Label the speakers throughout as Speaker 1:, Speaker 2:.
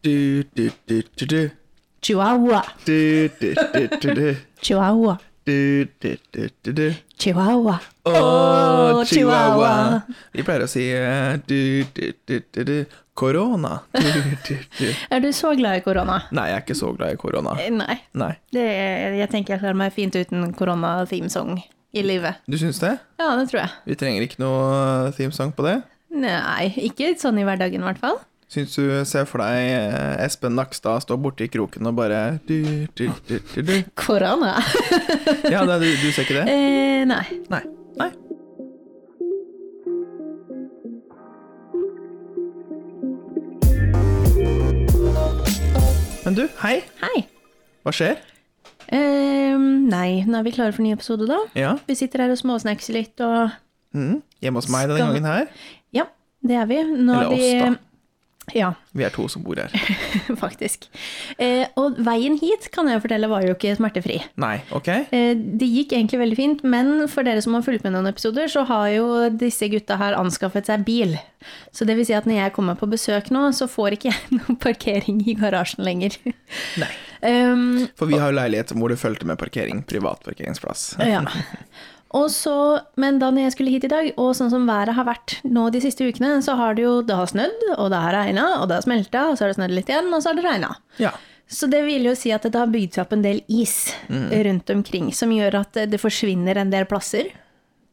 Speaker 1: Du, du, du, du, du.
Speaker 2: Chihuahua.
Speaker 1: Du, du, du, du, du.
Speaker 2: Chihuahua.
Speaker 1: Du, du, du, du, du.
Speaker 2: Chihuahua.
Speaker 1: Å, chihuahua.
Speaker 2: Å, chihuahua.
Speaker 1: Vi pleier å si eh, du, du, du, du, du. korona. Du, du, du.
Speaker 2: Er du så glad i korona?
Speaker 1: Nei, jeg er ikke så glad i korona.
Speaker 2: Eh, Nei.
Speaker 1: Nei.
Speaker 2: Det, jeg tenker jeg klarer meg fint uten korona-themesong i livet.
Speaker 1: Du syns det?
Speaker 2: Ja, det tror jeg.
Speaker 1: Vi trenger ikke noe themesang på det.
Speaker 2: Nei, ikke sånn i hverdagen i hvert fall.
Speaker 1: Syns du ser for deg eh, Espen Nakstad stå borti kroken og bare du, du, du, du, du.
Speaker 2: Korona?
Speaker 1: Ja, det, du, du ser ikke det?
Speaker 2: eh, nei.
Speaker 1: Nei. Nei. Men du, hei.
Speaker 2: Hei.
Speaker 1: Hva skjer?
Speaker 2: Eh, nei, nå er vi klare for ny episode, da.
Speaker 1: Ja.
Speaker 2: Vi sitter her og småsnackser litt og
Speaker 1: Mm. Hjemme hos meg denne
Speaker 2: Skal-
Speaker 1: gangen her.
Speaker 2: Ja, det er vi. Nå
Speaker 1: Eller
Speaker 2: er vi...
Speaker 1: oss,
Speaker 2: Ja,
Speaker 1: Vi er to som bor her.
Speaker 2: faktisk. Eh, og veien hit, kan jeg fortelle, var jo ikke smertefri.
Speaker 1: Nei, ok?
Speaker 2: Eh, det gikk egentlig veldig fint, men for dere som har fulgt med noen episoder, så har jo disse gutta her anskaffet seg bil. Så det vil si at når jeg kommer på besøk nå, så får ikke jeg noen parkering i garasjen lenger.
Speaker 1: Nei.
Speaker 2: Um,
Speaker 1: For vi har jo leilighet hvor det fulgte med parkering. Privatparkeringsplass.
Speaker 2: Ja. Og så, men da når jeg skulle hit i dag, og sånn som været har vært nå de siste ukene, så har det jo det har snødd, og det har regna, og det har smelta, og så har det snødd litt igjen, og så har det regna.
Speaker 1: Ja.
Speaker 2: Så det vil jo si at det har bygd seg opp en del is rundt omkring, som gjør at det forsvinner en del plasser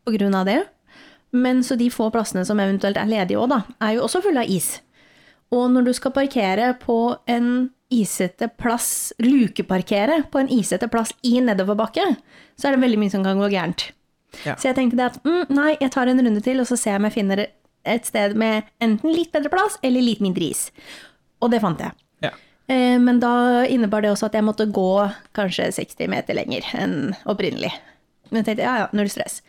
Speaker 2: på grunn av det. Men så de få plassene som eventuelt er ledige òg, da, er jo også fulle av is. Og når du skal parkere på en isete plass, lukeparkere på en isete plass i nedoverbakke, så er det veldig mye som kan gå gærent.
Speaker 1: Ja.
Speaker 2: Så jeg tenkte det at mm, nei, jeg tar en runde til, og så ser jeg om jeg finner et sted med enten litt bedre plass eller litt mindre is. Og det fant jeg.
Speaker 1: ja.
Speaker 2: Eh, Men da innebar det også at jeg måtte gå kanskje 60 meter lenger enn opprinnelig. Men jeg tenkte ja, ja, null stress.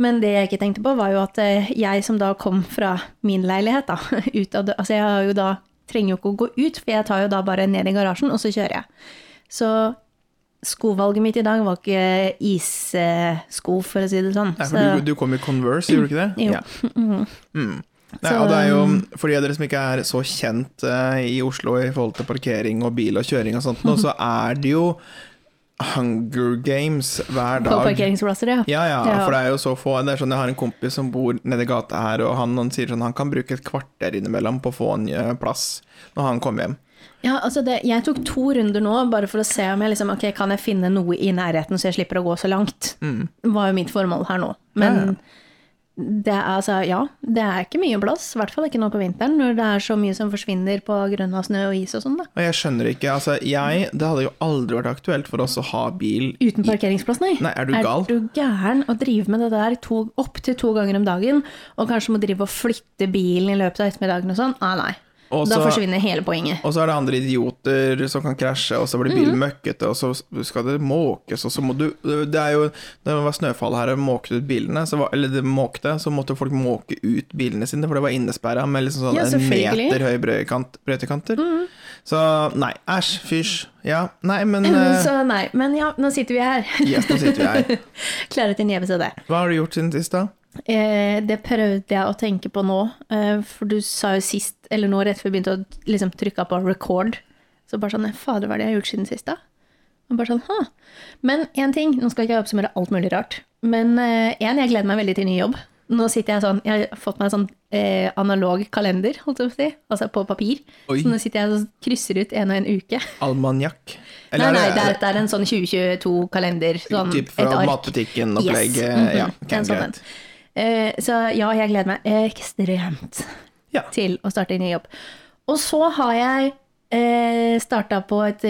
Speaker 2: Men det jeg ikke tenkte på, var jo at eh, jeg som da kom fra min leilighet, da, ut av dø- Altså jeg har jo da trenger jo ikke å gå ut, for jeg tar jo da bare ned i garasjen, og så kjører jeg. Så skovalget mitt i dag var ikke issko, for å si det sånn.
Speaker 1: Nei, for
Speaker 2: Så-
Speaker 1: du, du kom i Converse, gjorde du ikke det?
Speaker 2: Jo. Mhm.
Speaker 1: Ja. Mm. Nei,
Speaker 2: Så,
Speaker 1: og det er jo, for de av dere som ikke er så kjent eh, i Oslo i forhold til parkering og bil og kjøring og sånt, nå, så er det jo Hunger Games hver
Speaker 2: på
Speaker 1: dag.
Speaker 2: parkeringsplasser, ja.
Speaker 1: Ja, ja,
Speaker 2: Ja.
Speaker 1: for det er jo så få. Det er sånn, Jeg har en kompis som bor nede i gata her, og han, han sier sånn han kan bruke et kvarter innimellom på å få en eh, plass når han kommer hjem.
Speaker 2: Ja, altså det, jeg tok to runder nå, bare for å se om jeg liksom, ok, kan jeg finne noe i nærheten, så jeg slipper å gå så langt.
Speaker 1: Mm.
Speaker 2: Det var jo mitt formål her nå. Men det er altså, ja, det er ikke mye plass, i hvert fall ikke nå på vinteren, når det er så mye som forsvinner på grunn av snø og is og sånn, da.
Speaker 1: Og jeg skjønner ikke, altså jeg Det hadde jo aldri vært aktuelt for oss å ha bil
Speaker 2: Uten parkeringsplass, nei.
Speaker 1: Nei, er du gal?
Speaker 2: Er du gæren å drive med det der to, opp til to ganger om dagen, og kanskje må drive og flytte bilen i løpet av ettermiddagen og sånn? Ah, nei.
Speaker 1: Og
Speaker 2: da
Speaker 1: så-
Speaker 2: forsvinner hele poenget.
Speaker 1: Og så er det andre idioter som kan krasje, og så blir
Speaker 2: Mhm.
Speaker 1: bilen møkkete, og så skal det måkes, og så må du Det er jo Da det var snøfall her og måkte ut bilene, så var, eller det måkte, så måtte folk måke ut bilene sine, for det var innesperra med liksom sånn
Speaker 2: Ja,
Speaker 1: en
Speaker 2: selvfølgelig. Mhm.
Speaker 1: meter høye brøyekant, brøytekanter. Så nei, æsj, fysj. Ja, nei, men eh,
Speaker 2: Så nei, men ja, nå sitter vi her.
Speaker 1: Yes, nå sitter vi her.
Speaker 2: Klare til en ny episode.
Speaker 1: Hva har du gjort siden sist, da?
Speaker 2: Eh, det prøvde jeg å tenke på nå, eh, for du sa jo sist, eller nå rett før vi begynte å liksom, trykke på record, så bare sånn, fader, hva er det jeg har gjort siden sist da? Og bare sånn, ha. Men en ting, nå skal ikke jeg oppsummere alt mulig rart, men eh, en, jeg gleder meg veldig til ny jobb. Nå sitter jeg sånn, jeg har fått meg sånn eh, analog kalender, holdt jeg på å si, altså på papir.
Speaker 1: Oi.
Speaker 2: Så nå sitter jeg og krysser ut en og en uke.
Speaker 1: Almanjakk?
Speaker 2: Nei, nei, det
Speaker 1: er
Speaker 2: er, det er en sånn 2022-kalender, sånn
Speaker 1: Typ
Speaker 2: et
Speaker 1: fra
Speaker 2: ark.
Speaker 1: matbutikken-opplegg?
Speaker 2: Yes.
Speaker 1: eh, Ja,
Speaker 2: Mhm.
Speaker 1: ok,
Speaker 2: En sånn en.
Speaker 1: greit.
Speaker 2: Eh, så ja, jeg gleder meg ekstremt
Speaker 1: Ja.
Speaker 2: til å starte i ny jobb. Og så har jeg eh, starta på et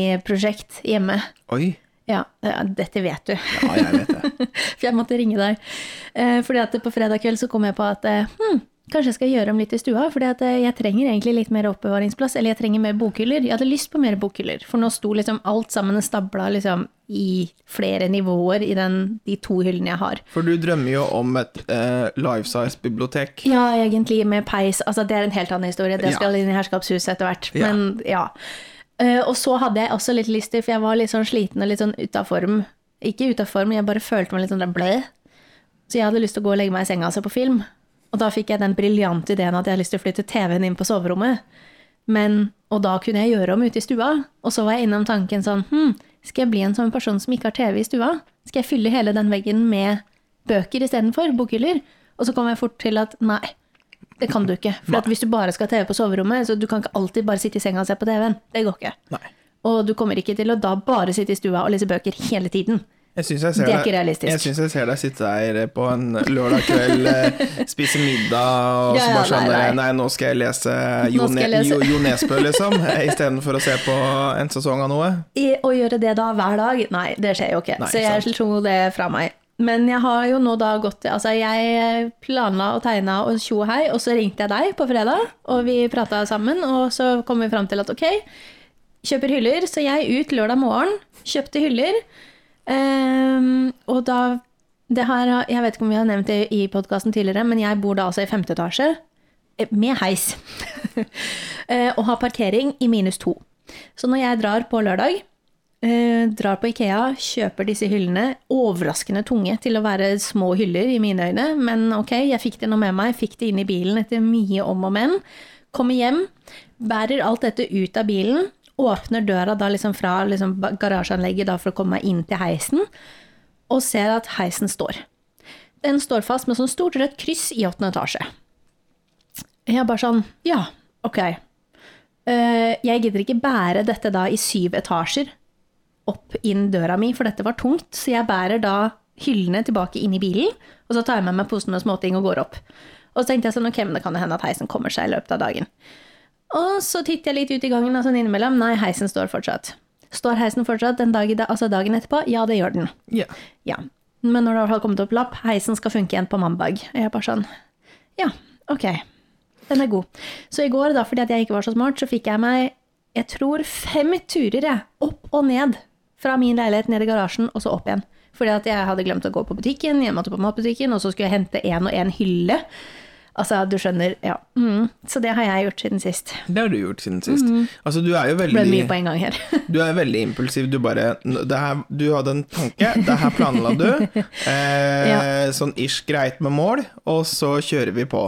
Speaker 2: miniprosjekt hjemme.
Speaker 1: Oi.
Speaker 2: Ja, ja, dette vet du.
Speaker 1: Ja, jeg vet det.
Speaker 2: For jeg måtte ringe deg. Eh, fordi at på fredag kveld så kom jeg på at eh, hm, kanskje jeg skal gjøre om litt i stua. fordi at eh, jeg trenger egentlig litt mer oppbevaringsplass, eller jeg trenger mer bokhyller. Jeg hadde lyst på mer bokhyller, for nå sto liksom alt sammen stabla liksom i flere nivåer i den, de to hyllene jeg har.
Speaker 1: For du drømmer jo om et eh, life size-bibliotek.
Speaker 2: Ja, egentlig med peis. Altså, det er en helt annen historie. Det
Speaker 1: Ja.
Speaker 2: skal inn i herskapshuset etter hvert.
Speaker 1: Ja.
Speaker 2: Men ja. Eh, og så hadde jeg også litt lyst til, for jeg var litt sånn sliten og litt sånn ute av form. Ikke ute av form, jeg bare følte meg litt sånn der blæ. Så jeg hadde lyst til å gå og legge meg i senga og se på film. Og da fikk jeg den briljante ideen at jeg hadde lyst til å flytte TV-en inn på soverommet. Men Og da kunne jeg gjøre om ute i stua. Og så var jeg innom tanken sånn hm, Skal jeg bli en sånn person som ikke har TV i stua? Skal jeg fylle hele den veggen med bøker istedenfor? Bokhyller? Og så kom jeg fort til at nei, det kan du ikke. For at hvis du bare skal ha TV på soverommet, så du kan ikke alltid bare sitte i senga og se på TV-en. Det går ikke.
Speaker 1: Nei.
Speaker 2: Og du kommer ikke til å da bare sitte i stua og lese bøker hele tiden.
Speaker 1: Jeg synes jeg ser
Speaker 2: Det er ikke
Speaker 1: deg-
Speaker 2: realistisk.
Speaker 1: Jeg syns jeg ser deg sitte der eh, på en lørdag kveld, eh, spise middag og
Speaker 2: Ja,
Speaker 1: så
Speaker 2: ja,
Speaker 1: bare sånn
Speaker 2: nei,
Speaker 1: nei,
Speaker 2: nei.
Speaker 1: nå skal jeg lese Jo,
Speaker 2: Nå skal jeg
Speaker 1: Ne-
Speaker 2: lese.
Speaker 1: jo, jo Nesbø, liksom, eh, istedenfor å se på en sesong av noe.
Speaker 2: I, å gjøre det da hver dag, nei, det skjer jo ikke.
Speaker 1: Nei,
Speaker 2: så jeg
Speaker 1: sant.
Speaker 2: slo det fra meg. Men jeg har jo nå da gått Altså, jeg planla og tegna og tjo og hei, og så ringte jeg deg på fredag, og vi prata sammen, og så kom vi fram til at ok, kjøper hyller. Så jeg ut lørdag morgen, kjøpte hyller, ehm, og da det her, har- Jeg vet ikke om vi har nevnt det i podkasten tidligere, men jeg bor da altså i femte etasje eh, med heis. Eh, og har parkering i minus to. Så når jeg drar på lørdag, eh, drar på Ikea, kjøper disse hyllene, overraskende tunge til å være små hyller i mine øyne, men ok, jeg fikk det nå med meg, fikk det inn i bilen etter mye om og men. Kommer hjem, bærer alt dette ut av bilen, åpner døra da liksom fra liksom ba- garasjeanlegget da for å komme meg inn til heisen, og ser at heisen står. Den står fast med sånn stort rødt kryss i åttende etasje. Jeg er bare sånn, ja, ok. Eh, jeg gidder ikke bære dette da i syv etasjer opp inn døra mi, for dette var tungt, så jeg bærer da hyllene tilbake inn i bilen, og så tar jeg med meg posen med småting og går opp. Og så tenkte jeg sånn, ok, men det kan jo hende at heisen kommer seg i løpet av dagen. Og så titter jeg litt ut i gangen og sånn innimellom, nei, heisen står fortsatt. Står heisen fortsatt den dag i dag, altså dagen etterpå? Ja, det gjør den.
Speaker 1: Ja.
Speaker 2: Ja. Men når det har kommet opp lapp, heisen skal funke igjen på mandag. Og jeg bare sånn, ja, ok. Den er god. Så i går, da, fordi at jeg ikke var så smart, så fikk jeg meg, jeg tror, fem turer jeg, opp og ned fra min leilighet ned i garasjen, og så opp igjen. Fordi at jeg hadde glemt å gå på butikken, jeg måtte på matbutikken, og så skulle jeg hente én og én hylle. Altså, du skjønner, ja. Mm. Så det har jeg gjort siden sist.
Speaker 1: Det har du gjort siden sist. Altså, du er jo
Speaker 2: Mm. Ble det mye
Speaker 1: veldig
Speaker 2: på en gang her.
Speaker 1: Du er veldig impulsiv. Du bare "N- det her, Du hadde en tanke, det her planla du. Eh, Sånn ish greit med mål, og så kjører vi på.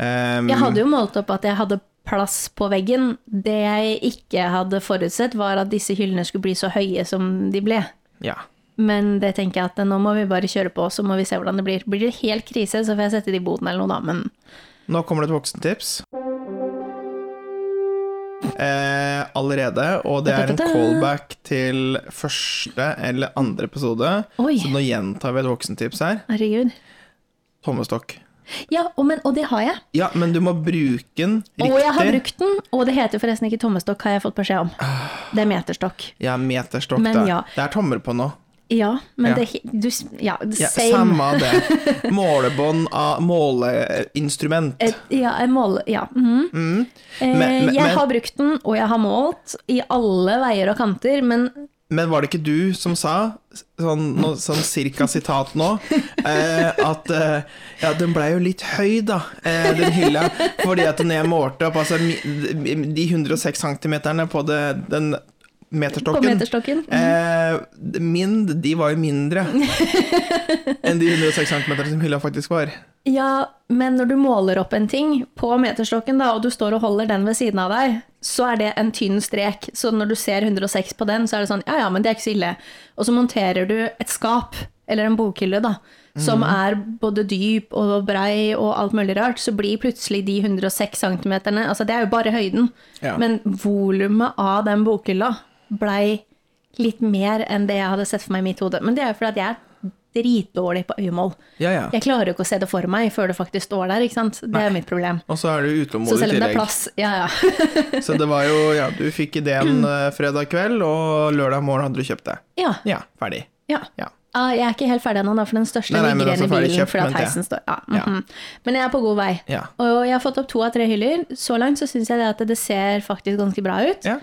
Speaker 1: Um,
Speaker 2: Jeg hadde jo målt opp at jeg hadde plass på veggen. Det jeg ikke hadde forutsett, var at disse hyllene skulle bli så høye som de ble.
Speaker 1: ja.
Speaker 2: Men det tenker jeg at eh, nå må vi bare kjøre på, så må vi se hvordan det blir. Blir det helt krise, så får jeg sette det i boden eller noe da, men
Speaker 1: Nå kommer det et voksentips. Eh, allerede, og det er en callback til første eller andre episode.
Speaker 2: Oi.
Speaker 1: Så nå gjentar vi et voksentips her.
Speaker 2: herregud.
Speaker 1: Tommestokk.
Speaker 2: Ja, og, men, og det har jeg.
Speaker 1: Ja, men du må bruke den riktig.
Speaker 2: Og jeg har brukt den. Og det heter forresten ikke tommestokk, har jeg fått beskjed om.
Speaker 1: Ah.
Speaker 2: Det er meterstokk.
Speaker 1: Ja, meterstokk,
Speaker 2: Men
Speaker 1: da.
Speaker 2: ja.
Speaker 1: Det er tommer på nå.
Speaker 2: Ja, men
Speaker 1: Ja.
Speaker 2: det he- du, s- Ja,
Speaker 1: Ja,
Speaker 2: same.
Speaker 1: samme av det. Målebånd av måleinstrument. Mm.
Speaker 2: Et, ja, en mål... Ja. mhm. Eh,
Speaker 1: Men- men-
Speaker 2: jeg
Speaker 1: men-
Speaker 2: har brukt den, og jeg har målt i alle veier og kanter, men
Speaker 1: Men var det ikke du som sa, sånn, nå- sånn cirka sitat nå, eh, at eh, ja, den blei jo litt høy, da, eh, den hylla. Fordi at når jeg målte opp altså, mi- de 106 centimeterne på det, den
Speaker 2: på
Speaker 1: meterstokken
Speaker 2: meterstokken
Speaker 1: eh, Min, de var jo mindre enn de 106 centimeterne som hylla faktisk var.
Speaker 2: Ja, men når du måler opp en ting på meterstokken, da, og du står og holder den ved siden av deg, så er det en tynn strek. Så når du ser 106 på den, så er det sånn ja ja, men det er ikke så ille. Og så monterer du et skap, eller en bokhylle, da, som er både dyp og brei og alt mulig rart, så blir plutselig de 106 centimeterne Altså, det er jo bare høyden,
Speaker 1: Ja.
Speaker 2: men volumet av den bokhylla blei litt mer enn det jeg hadde sett for meg i mitt hode. Men det er jo fordi at jeg er dritdårlig på øyemål.
Speaker 1: Ja, ja.
Speaker 2: Jeg klarer jo ikke å se det for meg før det faktisk står der, ikke sant? Det er mitt problem.
Speaker 1: Og så er du
Speaker 2: Så
Speaker 1: utålmodig i
Speaker 2: selv om det er
Speaker 1: tillegg.
Speaker 2: plass, ja ja.
Speaker 1: Så det var jo Ja, du fikk ideen eh, fredag kveld, og lørdag morgen hadde du kjøpt det.
Speaker 2: Ja,
Speaker 1: Ja, ferdig.
Speaker 2: ja.
Speaker 1: Ja.
Speaker 2: Ah, jeg er ikke helt ferdig ennå, da, for den største
Speaker 1: Nei, nei, men
Speaker 2: ligger igjen i
Speaker 1: altså ferdig
Speaker 2: bilen
Speaker 1: kjøpt,
Speaker 2: fordi at
Speaker 1: mente jeg.
Speaker 2: heisen står. Ja,
Speaker 1: Ja.
Speaker 2: mhm. Men jeg er på god vei.
Speaker 1: Ja.
Speaker 2: Og jeg har fått opp to av tre hyller. Så langt så syns jeg det at det ser faktisk ganske bra ut.
Speaker 1: Ja.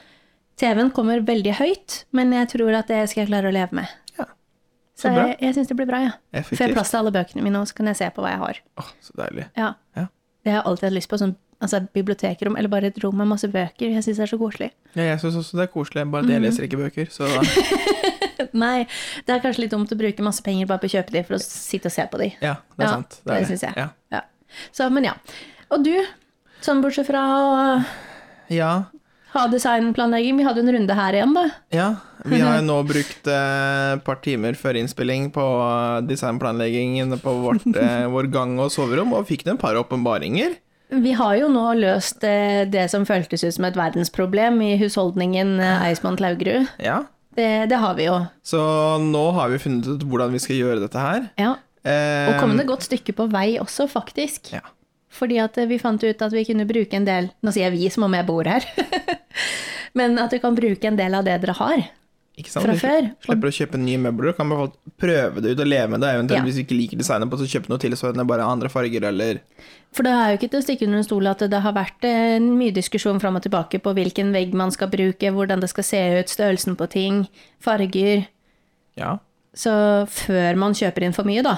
Speaker 2: TV-en kommer veldig høyt, men jeg tror at det skal jeg klare å leve med.
Speaker 1: Ja.
Speaker 2: Så
Speaker 1: Så bra.
Speaker 2: jeg, jeg syns det blir bra, ja. For jeg har
Speaker 1: Effektivt.
Speaker 2: plass til alle bøkene mine, og så kan jeg se på hva jeg har.
Speaker 1: Åh, så deilig.
Speaker 2: Ja.
Speaker 1: Ja.
Speaker 2: Det har jeg alltid hatt lyst på. Sånn, altså bibliotekrom, eller bare et rom med masse bøker. Jeg syns det er så koselig.
Speaker 1: Ja, jeg syns også det er koselig, bare det jeg
Speaker 2: Mhm.
Speaker 1: leser ikke bøker, så da
Speaker 2: Nei, det er kanskje litt dumt å bruke masse penger bare på å kjøpe de for å sitte og se på de.
Speaker 1: Ja, det er
Speaker 2: Ja,
Speaker 1: sant.
Speaker 2: det synes jeg.
Speaker 1: Ja.
Speaker 2: Ja. Så, men ja. Og du, sånn bortsett fra å
Speaker 1: ja.
Speaker 2: ha designplanlegging. Vi hadde en runde her igjen, da.
Speaker 1: Ja, vi har jo nå brukt eh, et par timer før innspilling på eh, designplanleggingen på vårt, eh, vår gang og soverom, og fikk en par åpenbaringer.
Speaker 2: Vi har jo nå løst eh, det som føltes ut som et verdensproblem i husholdningen eh, Eismann Klaugerud.
Speaker 1: Ja.
Speaker 2: Det, det har vi jo.
Speaker 1: Så nå har vi funnet ut hvordan vi skal gjøre dette her.
Speaker 2: Ja.
Speaker 1: Eh,
Speaker 2: Og kom det godt stykke på vei også, faktisk.
Speaker 1: Ja.
Speaker 2: Fordi at eh, vi fant ut at vi kunne bruke en del Nå sier jeg vi som om jeg bor her. Men at du kan bruke en del av det dere har.
Speaker 1: ikke sant?
Speaker 2: fra
Speaker 1: Vi
Speaker 2: før.
Speaker 1: Slipper å kjøpe nye møbler, kan man prøve det ut og leve med det. Eventuelt
Speaker 2: Ja.
Speaker 1: hvis vi ikke liker designet på, så kjøpe noe tilsvarende, bare andre farger eller
Speaker 2: For det er jo ikke til å stikke under en stol at det har vært eh, mye diskusjon fram og tilbake på hvilken vegg man skal bruke, hvordan det skal se ut, størrelsen på ting, farger.
Speaker 1: Ja.
Speaker 2: Så før man kjøper inn for mye, da,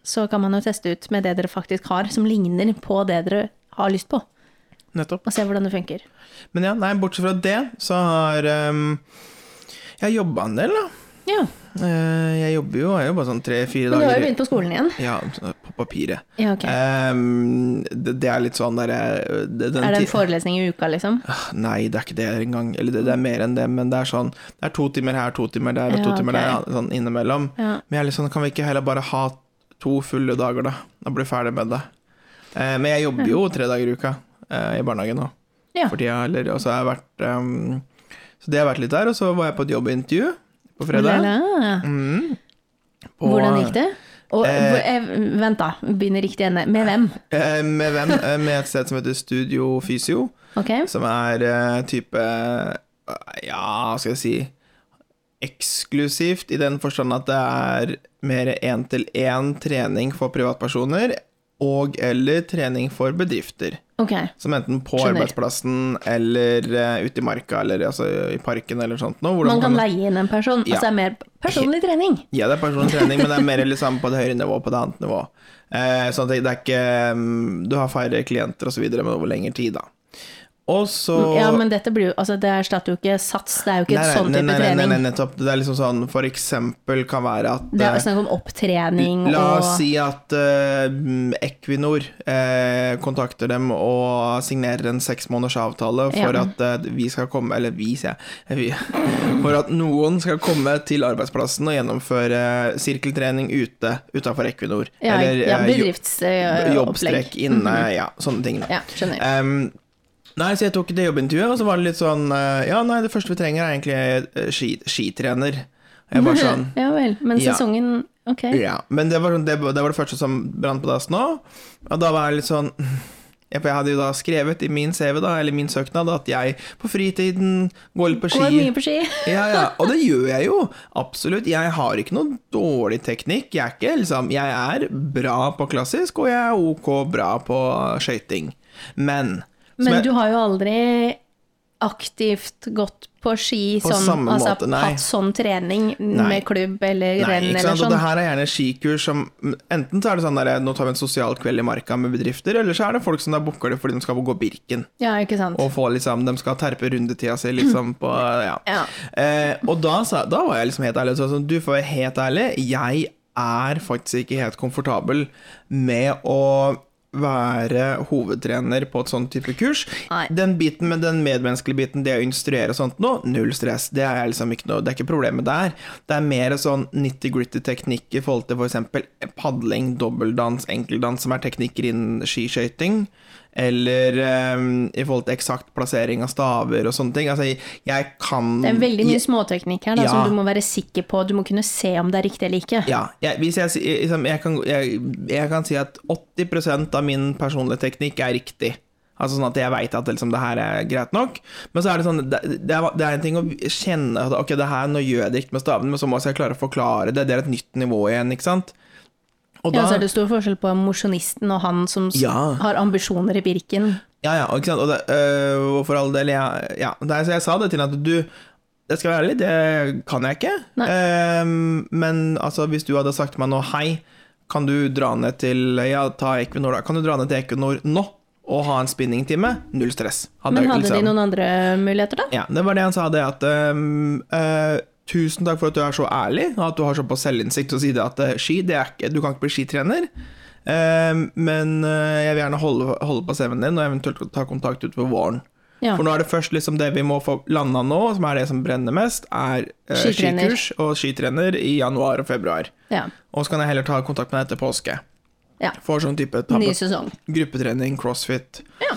Speaker 2: så kan man jo teste ut med det dere faktisk har, som ligner på det dere har lyst på, og
Speaker 1: Nettopp.
Speaker 2: se hvordan det funker.
Speaker 1: Men ja, nei, bortsett fra det, så har ehm, jeg har jobba en del, da.
Speaker 2: Ja,
Speaker 1: Eh, jeg jobber jo, jeg er jo bare sånn tre-fire
Speaker 2: Men du
Speaker 1: dager
Speaker 2: har jo begynt på skolen igjen.
Speaker 1: Ja, så- på papiret.
Speaker 2: Ja, ok.
Speaker 1: Ehm, det, det er litt sånn derre
Speaker 2: Er det en forelesning i uka, liksom?
Speaker 1: Ah, Nei, det er ikke det engang. Eller det, det er mer enn det, men det er sånn Det er to timer her, to timer der, og
Speaker 2: Ja,
Speaker 1: to timer der,
Speaker 2: ok.
Speaker 1: ja, sånn innimellom.
Speaker 2: Ja.
Speaker 1: Men jeg er litt sånn, kan vi ikke heller bare ha to fulle dager, da? Og bli ferdig med det. Eh, men jeg jobber jo tre dager i uka eh, i barnehagen nå.
Speaker 2: Mm. Ja.
Speaker 1: For tida, eller Og så har jeg vært ehm, Så det har vært litt der, og så var jeg på et jobbintervju på fredag.
Speaker 2: Lala.
Speaker 1: Mm. På-
Speaker 2: Hvordan gikk det? Og,
Speaker 1: Eh,
Speaker 2: hvor- eh, vent, da. Begynner riktig ende. Med hvem?
Speaker 1: Eh, med hvem? Eh, Med et sted som heter Studio Fysio.
Speaker 2: Ok?
Speaker 1: Som er eh, type eh, Ja, hva skal jeg si Eksklusivt i den forstand at det er mer én-til-én trening for privatpersoner og eller trening for bedrifter.
Speaker 2: Ok.
Speaker 1: Som enten på
Speaker 2: Skjønner.
Speaker 1: arbeidsplassen eller eh, ute i marka eller altså, i parken eller sånt noe. hvor
Speaker 2: Man kan
Speaker 1: kan-
Speaker 2: leie inn en person.
Speaker 1: Ja.
Speaker 2: Altså det er mer personlig trening.
Speaker 1: Ja, det er personlig trening, men det er mer liksom på det høyere nivå på det annet nivå. Eh, sånn at det er ikke mm, Du har færre klienter og så videre, men over lengre tid, da. Og så
Speaker 2: Ja, men dette blir jo Altså, det erstatter jo ikke sats. Det er jo ikke
Speaker 1: Nei,
Speaker 2: et sånn type
Speaker 1: nei, nei, nei,
Speaker 2: trening.
Speaker 1: nei, nettopp. Det er liksom sånn, for eksempel kan være at
Speaker 2: Det
Speaker 1: eh,
Speaker 2: er snakk om opptrening
Speaker 1: La
Speaker 2: og
Speaker 1: oss si at eh, Equinor eh, kontakter dem og signerer en seks måneders avtale for
Speaker 2: Ja.
Speaker 1: at eh, vi skal komme Eller vi, sier jeg. Vi, for at noen skal komme til arbeidsplassen og gjennomføre sirkeltrening ute utafor Equinor.
Speaker 2: ja, ja, Mhm.
Speaker 1: eh, jo-
Speaker 2: bedriftsopplegg.
Speaker 1: jobbstrekk inne, ja. Sånne ting. da.
Speaker 2: Ja, skjønner.
Speaker 1: Ehm, nei, så jeg tok det jobbintervjuet, og så var det litt sånn eh, Ja, nei, det første vi trenger er egentlig eh, ski, skitrener. Jeg var sånn
Speaker 2: ja vel. Men
Speaker 1: Ja.
Speaker 2: sesongen Ok.
Speaker 1: Ja. Men det var, sånn- det, det var det første som brant på dassen nå. Og da var jeg litt sånn ja, for Jeg hadde jo da skrevet i min CV, da, eller min søknad, at jeg på fritiden går litt på ski.
Speaker 2: Går mye på ski.
Speaker 1: Ja, ja, og det gjør jeg jo. Absolutt. Jeg har ikke noe dårlig teknikk. Jeg er ikke liksom Jeg er bra på klassisk, og jeg er ok bra på skøyting. Men som
Speaker 2: Men
Speaker 1: jeg-
Speaker 2: du har jo aldri aktivt gått på ski
Speaker 1: På
Speaker 2: sånn,
Speaker 1: samme
Speaker 2: altså
Speaker 1: måte, nei.
Speaker 2: hatt sånn trening
Speaker 1: Nei.
Speaker 2: med klubb eller
Speaker 1: Nei,
Speaker 2: renn
Speaker 1: ikke
Speaker 2: eller
Speaker 1: sant? Og
Speaker 2: sånn.
Speaker 1: det her er gjerne skikurs som Enten så er det sånn der Nå tar vi en sosial kveld i marka med bedrifter, eller så er det folk som da booker det fordi de skal gå Birken.
Speaker 2: Ja, ikke sant.
Speaker 1: Og få liksom De skal terpe rundetida si, liksom, på Ja.
Speaker 2: Ja.
Speaker 1: Eh, og da, sa, da var jeg liksom helt ærlig. og Så, sånn, du får være helt ærlig, jeg er faktisk ikke helt komfortabel med å være hovedtrener på et sånn type kurs.
Speaker 2: Nei.
Speaker 1: Den biten med den medmenneskelige biten, det å instruere og sånt nå, null stress. Det er liksom ikke noe, det er ikke problemet der. Det er mer sånn nitty-gritty teknikk i forhold til f.eks. padling, dobbeldans, enkeldans, som er teknikker innen skiskøyting. Eller eh, i forhold til eksakt plassering av staver og sånne ting. Altså, jeg- jeg kan
Speaker 2: Det er veldig mye småteknikk her da,
Speaker 1: Ja.
Speaker 2: som du må være sikker på. Du må kunne se om det er riktig eller ikke.
Speaker 1: Mm. Ja. Jeg, hvis jeg, si- liksom, jeg, kan, jeg, jeg kan si at 80 av min personlige teknikk er riktig. Altså sånn at jeg veit at liksom, det her er greit nok. Men så er det sånn Det, det, er, det er en ting å kjenne at ok, det her nå gjør jeg det riktig med stavene, men så må jeg klare å forklare det. Det er et nytt nivå igjen, ikke sant? Og
Speaker 2: Ja,
Speaker 1: da-
Speaker 2: så er det stor forskjell på mosjonisten og han som s-
Speaker 1: Ja.
Speaker 2: har ambisjoner i Birken.
Speaker 1: Ja, ja, og ikke sant? Og det, øh, og for all del, ja, ja. Nei, så jeg sa det til henne at du Jeg skal være ærlig, det kan jeg ikke.
Speaker 2: Nei.
Speaker 1: Ehm, men altså, hvis du hadde sagt til meg nå Hei, kan du dra ned til Ja, ta Equinor, da. Kan du dra ned til Equinor nå og ha en spinningtime? Null stress.
Speaker 2: Men
Speaker 1: jeg
Speaker 2: hadde
Speaker 1: liksom-
Speaker 2: de noen andre muligheter, da?
Speaker 1: ja, det var det han sa, det at ehm, eh, Tusen takk for at du er så ærlig, og at du har såpass selvinnsikt og sier det at eh, ski, det er ikke, du kan ikke bli skitrener. Ehm, men eh, jeg vil gjerne holde, holde på CV-en din, og eventuelt ta kontakt utover våren.
Speaker 2: Ja.
Speaker 1: For nå er det først liksom det vi må få landa nå, som er det som brenner mest, er eh,
Speaker 2: Skitrener.
Speaker 1: skikurs og skitrener i januar og februar.
Speaker 2: Ja.
Speaker 1: Og så kan jeg heller ta kontakt med deg etter påske.
Speaker 2: Ja.
Speaker 1: For sånn type tabbe-
Speaker 2: Ny sesong.
Speaker 1: gruppetrening, crossfit,
Speaker 2: Ja.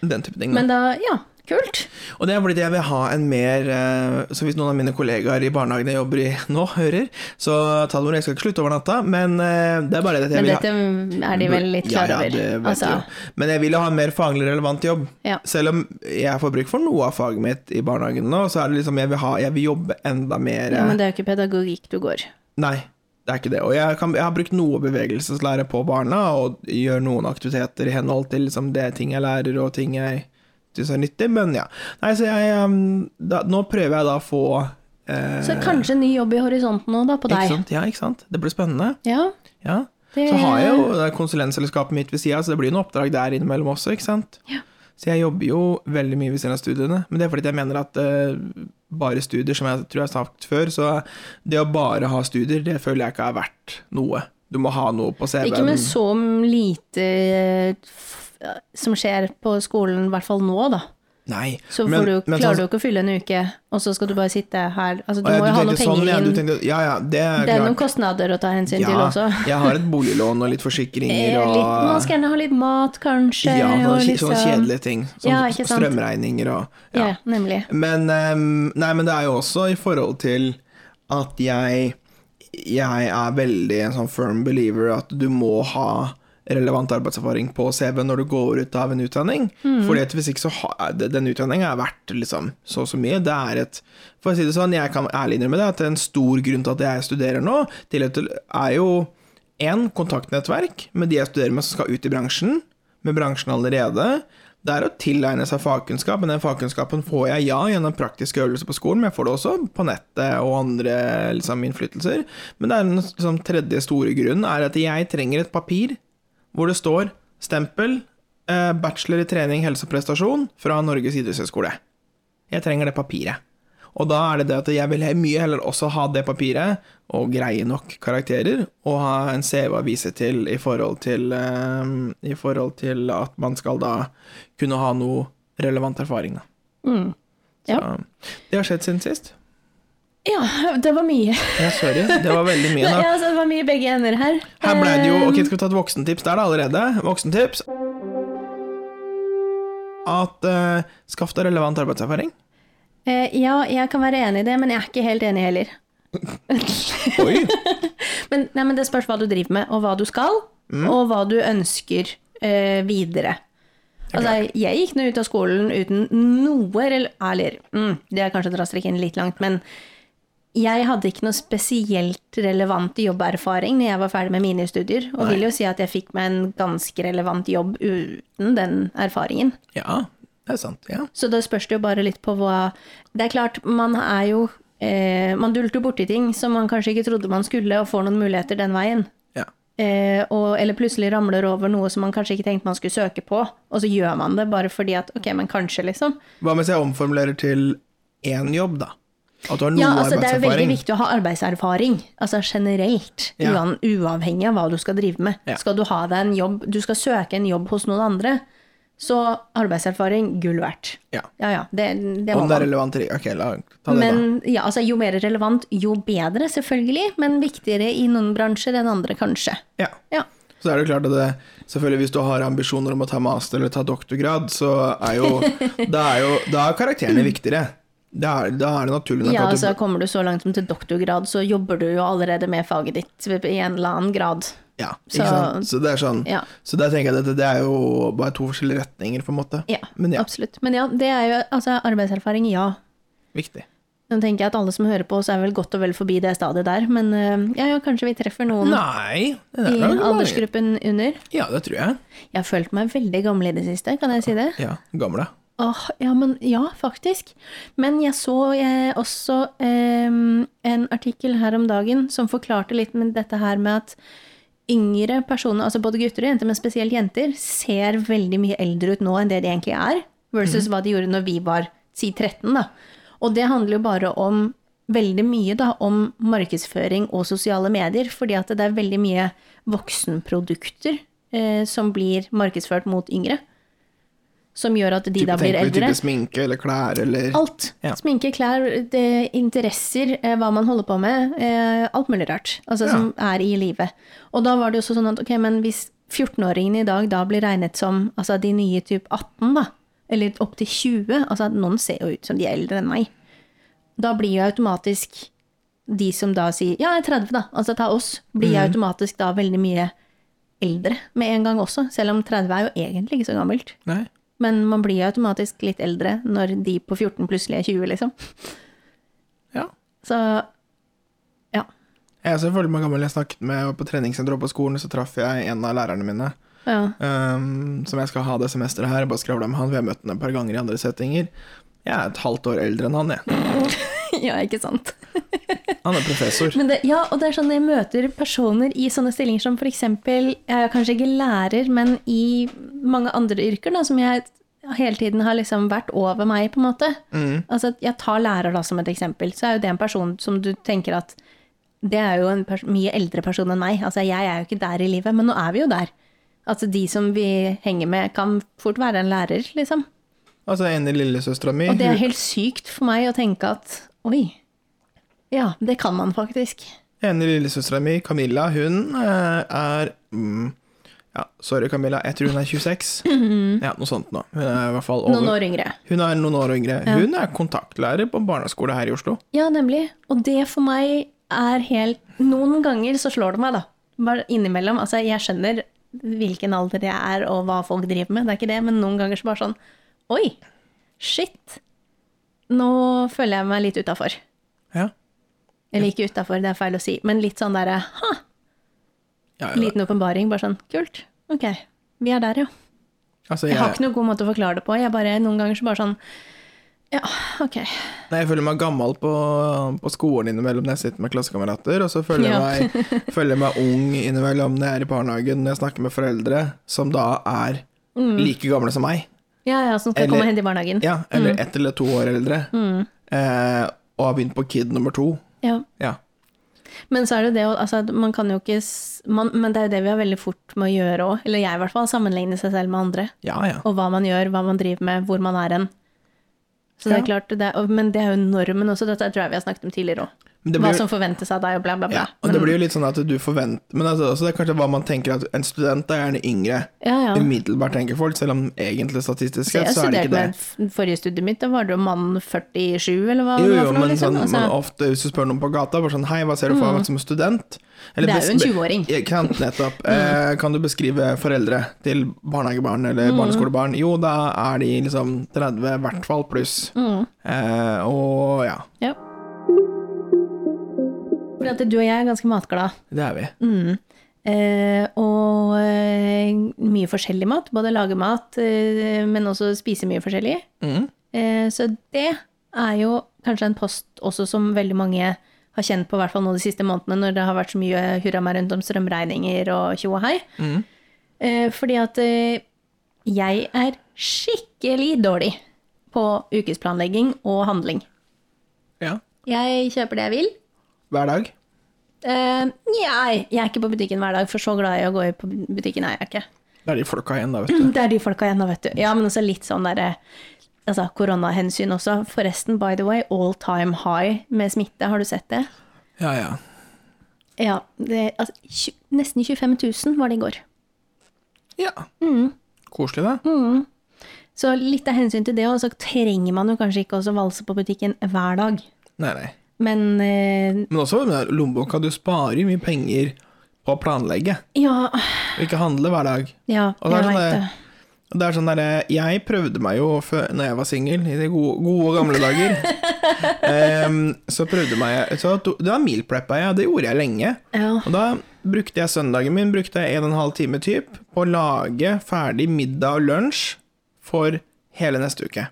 Speaker 1: den type ting. da.
Speaker 2: Men da Ja, kult.
Speaker 1: Og det er fordi jeg vil ha en mer eh, Så hvis noen av mine kollegaer i barnehagen jeg jobber i nå, hører, så ta det med ro, jeg skal ikke slutte over natta, men eh, det er bare det at jeg
Speaker 2: Men
Speaker 1: vil ha
Speaker 2: dette er de vel litt klar over.
Speaker 1: Ja, ja, det vet
Speaker 2: altså,
Speaker 1: jeg jo. Men jeg vil jo ha en mer faglig relevant jobb.
Speaker 2: Ja.
Speaker 1: Selv om jeg får bruk for noe av faget mitt i barnehagen nå, så er det liksom jeg vil, ha, jeg vil jobbe enda mer
Speaker 2: ja, men det er jo ikke pedagogikk du går.
Speaker 1: Nei, det er ikke det. Og jeg, kan, jeg har brukt noe bevegelseslære på barna, og gjør noen aktiviteter i henhold til liksom, det ting jeg lærer, og ting jeg syns er nyttig, men ja. Nei, så jeg um, da, Nå prøver jeg da å få eh,
Speaker 2: Så kanskje ny jobb i horisonten nå, da, på
Speaker 1: Ikke
Speaker 2: deg.
Speaker 1: sant? Ja, ikke sant? Det blir spennende.
Speaker 2: Ja,
Speaker 1: Ja.
Speaker 2: det,
Speaker 1: Så har jeg jo det er konsulentselskapet mitt ved sida, så det blir noen oppdrag der innimellom også, ikke sant.
Speaker 2: Ja.
Speaker 1: Så jeg jobber jo veldig mye ved siden av studiene, men det er fordi jeg mener at eh, bare studier, som jeg tror jeg har sagt før, så det å bare ha studier, det føler jeg ikke er verdt noe. Du må ha noe på CV-en.
Speaker 2: Ikke med så lite eh, f- som skjer på skolen, i hvert fall nå, da.
Speaker 1: Nei.
Speaker 2: Så
Speaker 1: men-
Speaker 2: får du,
Speaker 1: men sånn-
Speaker 2: klarer du jo ikke å fylle en uke, og så skal du bare sitte her. Altså, du
Speaker 1: Å, ja,
Speaker 2: må jo
Speaker 1: tenkte
Speaker 2: ha noen penger
Speaker 1: sånn, ja, du
Speaker 2: inn.
Speaker 1: tenkte, ja, ja, det er
Speaker 2: det er noen
Speaker 1: klart.
Speaker 2: kostnader å ta hensyn til også.
Speaker 1: jeg har et boliglån og litt
Speaker 2: Eh,
Speaker 1: forsikringer og
Speaker 2: Litt, man skal gjerne ha litt mat, kanskje.
Speaker 1: ja,
Speaker 2: og
Speaker 1: sånne, kje-
Speaker 2: liksom-
Speaker 1: sånne kjedelige ting. Sånne
Speaker 2: Ja, ikke sant.
Speaker 1: strømregninger og
Speaker 2: Ja, nemlig.
Speaker 1: Men, ehm, nei, men det er jo også i forhold til at jeg Jeg er veldig en sånn firm believer at du må ha relevant arbeidserfaring på CV når du går ut av en utdanning. Fordi at hvis ikke så har den utdanninga er verdt liksom så og så mye. Det er et For å si det sånn, jeg kan ærlig innrømme det, at en stor grunn til at jeg studerer nå, til at det er jo en, kontaktnettverk med de jeg studerer med som skal ut i bransjen, med bransjen allerede. Det er å tilegne seg fagkunnskap, men den fagkunnskapen får jeg ja gjennom praktiske øvelser på skolen, men jeg får det også på nettet og andre liksom, innflytelser. Men det er den liksom, tredje store grunnen er at jeg trenger et papir hvor det står stempel, eh, bachelor i trening, helse og prestasjon fra Norges idrettshøgskole. Jeg trenger det papiret. Og da er det det at jeg vil he- mye heller også ha det papiret, og greie nok karakterer, og ha en CV å vise til i forhold til, eh, i forhold til at man skal da kunne ha noe relevant erfaring, da.
Speaker 2: Mm. Ja.
Speaker 1: Så, det har skjedd siden sist.
Speaker 2: Ja, det var mye.
Speaker 1: Ja, sorry, det var veldig mye nå.
Speaker 2: Ja, altså, det var mye i begge ender her.
Speaker 1: Her ble det jo
Speaker 2: Eh,
Speaker 1: Ok, skal vi ta et voksentips der da allerede? Voksentips. At eh, skaff deg relevant arbeidserfaring.
Speaker 2: eh, Ja, jeg kan være enig i det, men jeg er ikke helt enig heller.
Speaker 1: Oi!
Speaker 2: Men, nei, men det spørs hva du driver med, og hva du skal, og hva du ønsker eh, videre. Altså, jeg gikk nå ut av skolen uten noe rel- Eller, mm, det er kanskje å dra strikken litt langt, men jeg hadde ikke noe spesielt relevant jobberfaring når jeg var ferdig med mine studier, og vil jo si at jeg fikk meg en ganske relevant jobb uten den erfaringen.
Speaker 1: Ja, det er sant. Ja.
Speaker 2: Så da spørs det jo bare litt på hva Det er klart, man er jo eh, Man dulter borti ting som man kanskje ikke trodde man skulle, og får noen muligheter den veien.
Speaker 1: ja.
Speaker 2: Eh, og, eller plutselig ramler over noe som man kanskje ikke tenkte man skulle søke på, og så gjør man det bare fordi at ok, men kanskje, liksom.
Speaker 1: Hva hvis jeg omformulerer til én jobb, da? At du har noe
Speaker 2: Ja, altså det er jo veldig
Speaker 1: arbeidserfaring?
Speaker 2: viktig å ha arbeidserfaring, altså generelt,
Speaker 1: Ja.
Speaker 2: uan, uavhengig av hva du skal drive med.
Speaker 1: Ja.
Speaker 2: Skal du ha deg en jobb, du skal søke en jobb hos noen andre, så arbeidserfaring, gull verdt.
Speaker 1: Ja.
Speaker 2: Ja ja, det, det må
Speaker 1: Om det er
Speaker 2: man.
Speaker 1: relevant eller Ok, la, ta det, da.
Speaker 2: Men ja, altså jo mer relevant, jo bedre, selvfølgelig, men viktigere i noen bransjer enn andre, kanskje.
Speaker 1: Ja.
Speaker 2: Ja.
Speaker 1: Så er det klart at det, selvfølgelig hvis du har ambisjoner om å ta master eller ta doktorgrad, så er jo Da er, jo, da er karakterene viktigere. Da er, da er det naturlig nok
Speaker 2: Ja,
Speaker 1: at du
Speaker 2: altså kommer du så langt som til doktorgrad, så jobber du jo allerede med faget ditt i en eller annen grad.
Speaker 1: Ja, ikke
Speaker 2: så-
Speaker 1: sant? Så det er sånn.
Speaker 2: Ja.
Speaker 1: Så der tenker jeg at det, det er jo bare to forskjellige retninger, på en måte.
Speaker 2: Ja,
Speaker 1: Men ja,
Speaker 2: absolutt. Men ja, det er jo altså arbeidserfaring, ja.
Speaker 1: viktig.
Speaker 2: Nå tenker jeg at alle som hører på oss er vel godt og vel forbi det stadiet der, men øh, ja, ja, kanskje vi treffer noen
Speaker 1: Nei, det er
Speaker 2: Mm. i
Speaker 1: nok mange.
Speaker 2: aldersgruppen under.
Speaker 1: Ja, det tror jeg.
Speaker 2: Jeg har følt meg veldig gammel i det siste, kan jeg si det?
Speaker 1: Ja, gamle.
Speaker 2: Åh, ja, men ja, faktisk. Men jeg så eh, også eh, en artikkel her om dagen som forklarte litt med dette her med at yngre personer, altså både gutter og jenter, men spesielt jenter, ser veldig mye eldre ut nå enn det de egentlig er, versus hva de gjorde når vi var si 13, da. Og det handler jo bare om veldig mye da, om markedsføring og sosiale medier, fordi at det er veldig mye voksenprodukter eh, som blir markedsført mot yngre. som gjør at de
Speaker 1: Type,
Speaker 2: da blir
Speaker 1: tenker vi
Speaker 2: eldre.
Speaker 1: type sminke eller klær eller
Speaker 2: Alt.
Speaker 1: Ja.
Speaker 2: Sminke, klær, det, interesser, eh, hva man holder på med. Eh, alt mulig rart. Altså
Speaker 1: Ja.
Speaker 2: som er i livet. Og da var det jo også sånn at ok, men hvis 14-åringen i dag da blir regnet som altså de nye typ 18, da, eller opp til 20, altså at noen ser jo ut som de er eldre enn meg, da blir jo automatisk de som da sier ja, jeg er 30, da, altså ta oss,
Speaker 1: Mm.
Speaker 2: blir jo automatisk da veldig mye eldre med en gang også. Selv om 30 er jo egentlig ikke så gammelt.
Speaker 1: Nei.
Speaker 2: Men man blir jo automatisk litt eldre når de på 14 plutselig er 20, liksom.
Speaker 1: Ja.
Speaker 2: Så ja.
Speaker 1: Jeg er selvfølgelig meg gammel. Jeg snakket med jeg var på treningssenteret og på skolen, så traff jeg en av lærerne mine.
Speaker 2: ja.
Speaker 1: ehm, som jeg skal ha det semesteret her. Jeg Bare skravla med han. Vi har møtt ham et par ganger i andre settinger. Jeg er et halvt år eldre enn han, jeg.
Speaker 2: ja, ikke sant.
Speaker 1: Han er professor.
Speaker 2: Men det, ja, og det er sånn jeg møter personer i sånne stillinger som f.eks. Jeg er kanskje ikke lærer, men i mange andre yrker da, som jeg hele tiden har liksom vært over meg, på en måte. Altså, jeg tar lærer da som et eksempel, så er jo det en person som du tenker at det er jo en pers mye eldre person enn meg. Altså, jeg er jo ikke der i livet, men nå er vi jo der. Altså, de som vi henger med, kan fort være en lærer, liksom.
Speaker 1: Altså en i lillesøstera mi.
Speaker 2: Og det er
Speaker 1: hun-
Speaker 2: helt sykt for meg å tenke at oi, ja, det kan man faktisk.
Speaker 1: Ene lillesøstera mi, Camilla, hun eh, er mm, Ja, sorry, Camilla, jeg tror hun er 26. Ja, noe sånt nå. Hun er i hvert fall
Speaker 2: Mhm. Noen
Speaker 1: over.
Speaker 2: år yngre.
Speaker 1: Hun er noen år yngre. Hun er kontaktlærer på en barneskole her i Oslo.
Speaker 2: Ja, nemlig. Og det for meg er helt Noen ganger så slår det meg, da. Bare innimellom. Altså, jeg skjønner hvilken alder jeg er og hva folk driver med, det er ikke det, men noen ganger så bare sånn Oi! Shit! Nå føler jeg meg litt utafor.
Speaker 1: Ja.
Speaker 2: Eller ikke utafor, det er feil å si, men litt sånn derre Ha!
Speaker 1: Ja, ja.
Speaker 2: Liten åpenbaring. Bare sånn Kult. Ok. Vi er der, ja.
Speaker 1: Altså,
Speaker 2: Jeg har ikke
Speaker 1: jeg,
Speaker 2: noen god måte å forklare det på. Jeg bare, Noen ganger så bare sånn Ja, ok.
Speaker 1: nei, jeg føler meg gammel på, på skolen innimellom når jeg sitter med klassekamerater, og så føler jeg,
Speaker 2: Ja.
Speaker 1: meg, føler jeg meg ung innimellom når jeg er i barnehagen, når jeg snakker med foreldre som da er
Speaker 2: Mm.
Speaker 1: like gamle som meg.
Speaker 2: Ja ja, som skal
Speaker 1: Eller-
Speaker 2: komme og hente i barnehagen.
Speaker 1: Ja, eller
Speaker 2: Mm.
Speaker 1: ett eller to år eldre. Eh, og har begynt på kid nummer to.
Speaker 2: ja.
Speaker 1: Ja.
Speaker 2: Men så er det det å- altså, at man kan jo ikke s- man, Men det er jo det vi har veldig fort med å gjøre òg, eller jeg i hvert fall, sammenligne seg selv med andre.
Speaker 1: Ja, ja.
Speaker 2: Og hva man gjør, hva man driver med, hvor man er hen. Så det er klart, det er, og- men det er jo normen også, dette tror jeg vi har snakket om tidligere òg.
Speaker 1: Men det blir-
Speaker 2: Hva som Mm. forventes av deg, og bla, bla, bla.
Speaker 1: Ja, og det blir jo litt sånn at du forventer Men altså, også det er kanskje hva man tenker at en student er gjerne yngre.
Speaker 2: ja, ja.
Speaker 1: Umiddelbart tenker folk, selv om egentlig statistisk
Speaker 2: Så
Speaker 1: sett
Speaker 2: jeg
Speaker 1: så er det ikke
Speaker 2: studerte
Speaker 1: det.
Speaker 2: med f- forrige studiet mitt, da var det jo mann 47, eller hva
Speaker 1: Jo,
Speaker 2: det
Speaker 1: jo,
Speaker 2: var for noe,
Speaker 1: men
Speaker 2: liksom.
Speaker 1: sånn,
Speaker 2: Altså, Mm.
Speaker 1: men ofte hvis du spør noen på gata, bare sånn Hei, hva ser du for deg som student? Eller
Speaker 2: Det er jo en Mm.
Speaker 1: bes-
Speaker 2: 20-åring.
Speaker 1: Ja, Kan, nettopp. Eh, kan du beskrive foreldre til barnehagebarn eller
Speaker 2: Mm.
Speaker 1: barneskolebarn? Jo, da er de liksom 30, i hvert fall pluss.
Speaker 2: Mm.
Speaker 1: Eh, og ja,
Speaker 2: ja. For at du og jeg er ganske matglade.
Speaker 1: det er vi.
Speaker 2: Mm. Eh, og eh, mye forskjellig mat. Både lage mat, eh, men også spise mye forskjellig.
Speaker 1: Mm.
Speaker 2: Eh, så det er jo kanskje en post også som veldig mange har kjent på, i hvert fall nå de siste månedene, når det har vært så mye hurra meg rundt om strømregninger og tjo og hei.
Speaker 1: Mm.
Speaker 2: Eh, fordi at eh, jeg er skikkelig dårlig på ukesplanlegging og handling.
Speaker 1: Ja.
Speaker 2: Jeg kjøper det jeg vil.
Speaker 1: Hver dag.
Speaker 2: Eh, nei, jeg er ikke på butikken hver dag, for så glad i å gå på butikken er jeg ikke.
Speaker 1: Det er de folka igjen, da, vet du.
Speaker 2: Det er de folka igjen, da, vet du. Ja, men også litt sånn derre altså, koronahensyn også. Forresten, by the way, all time high med smitte, har du sett det?
Speaker 1: Ja, ja.
Speaker 2: Ja. Det, altså, tju- nesten 25 000 var det i går.
Speaker 1: Ja.
Speaker 2: Mm.
Speaker 1: Koselig, da.
Speaker 2: Så litt av hensyn til det, og så trenger man jo kanskje ikke også valse på butikken hver dag.
Speaker 1: Nei, nei.
Speaker 2: Men eh,
Speaker 1: Men også med lommeboka, du sparer jo mye penger på å planlegge,
Speaker 2: ja,
Speaker 1: og ikke handle hver dag.
Speaker 2: ja,
Speaker 1: Og det
Speaker 2: jeg
Speaker 1: er sånn
Speaker 2: veit det.
Speaker 1: der- Og Det er sånn der, Jeg prøvde meg jo før, når jeg var singel, i de gode, gode gamle dager. Em, så prøvde meg så to, Da mealpreppa jeg, og det gjorde jeg lenge.
Speaker 2: Ja.
Speaker 1: Og da brukte jeg søndagen min brukte jeg en og en halv time typ, på å lage ferdig middag og lunsj for hele neste uke.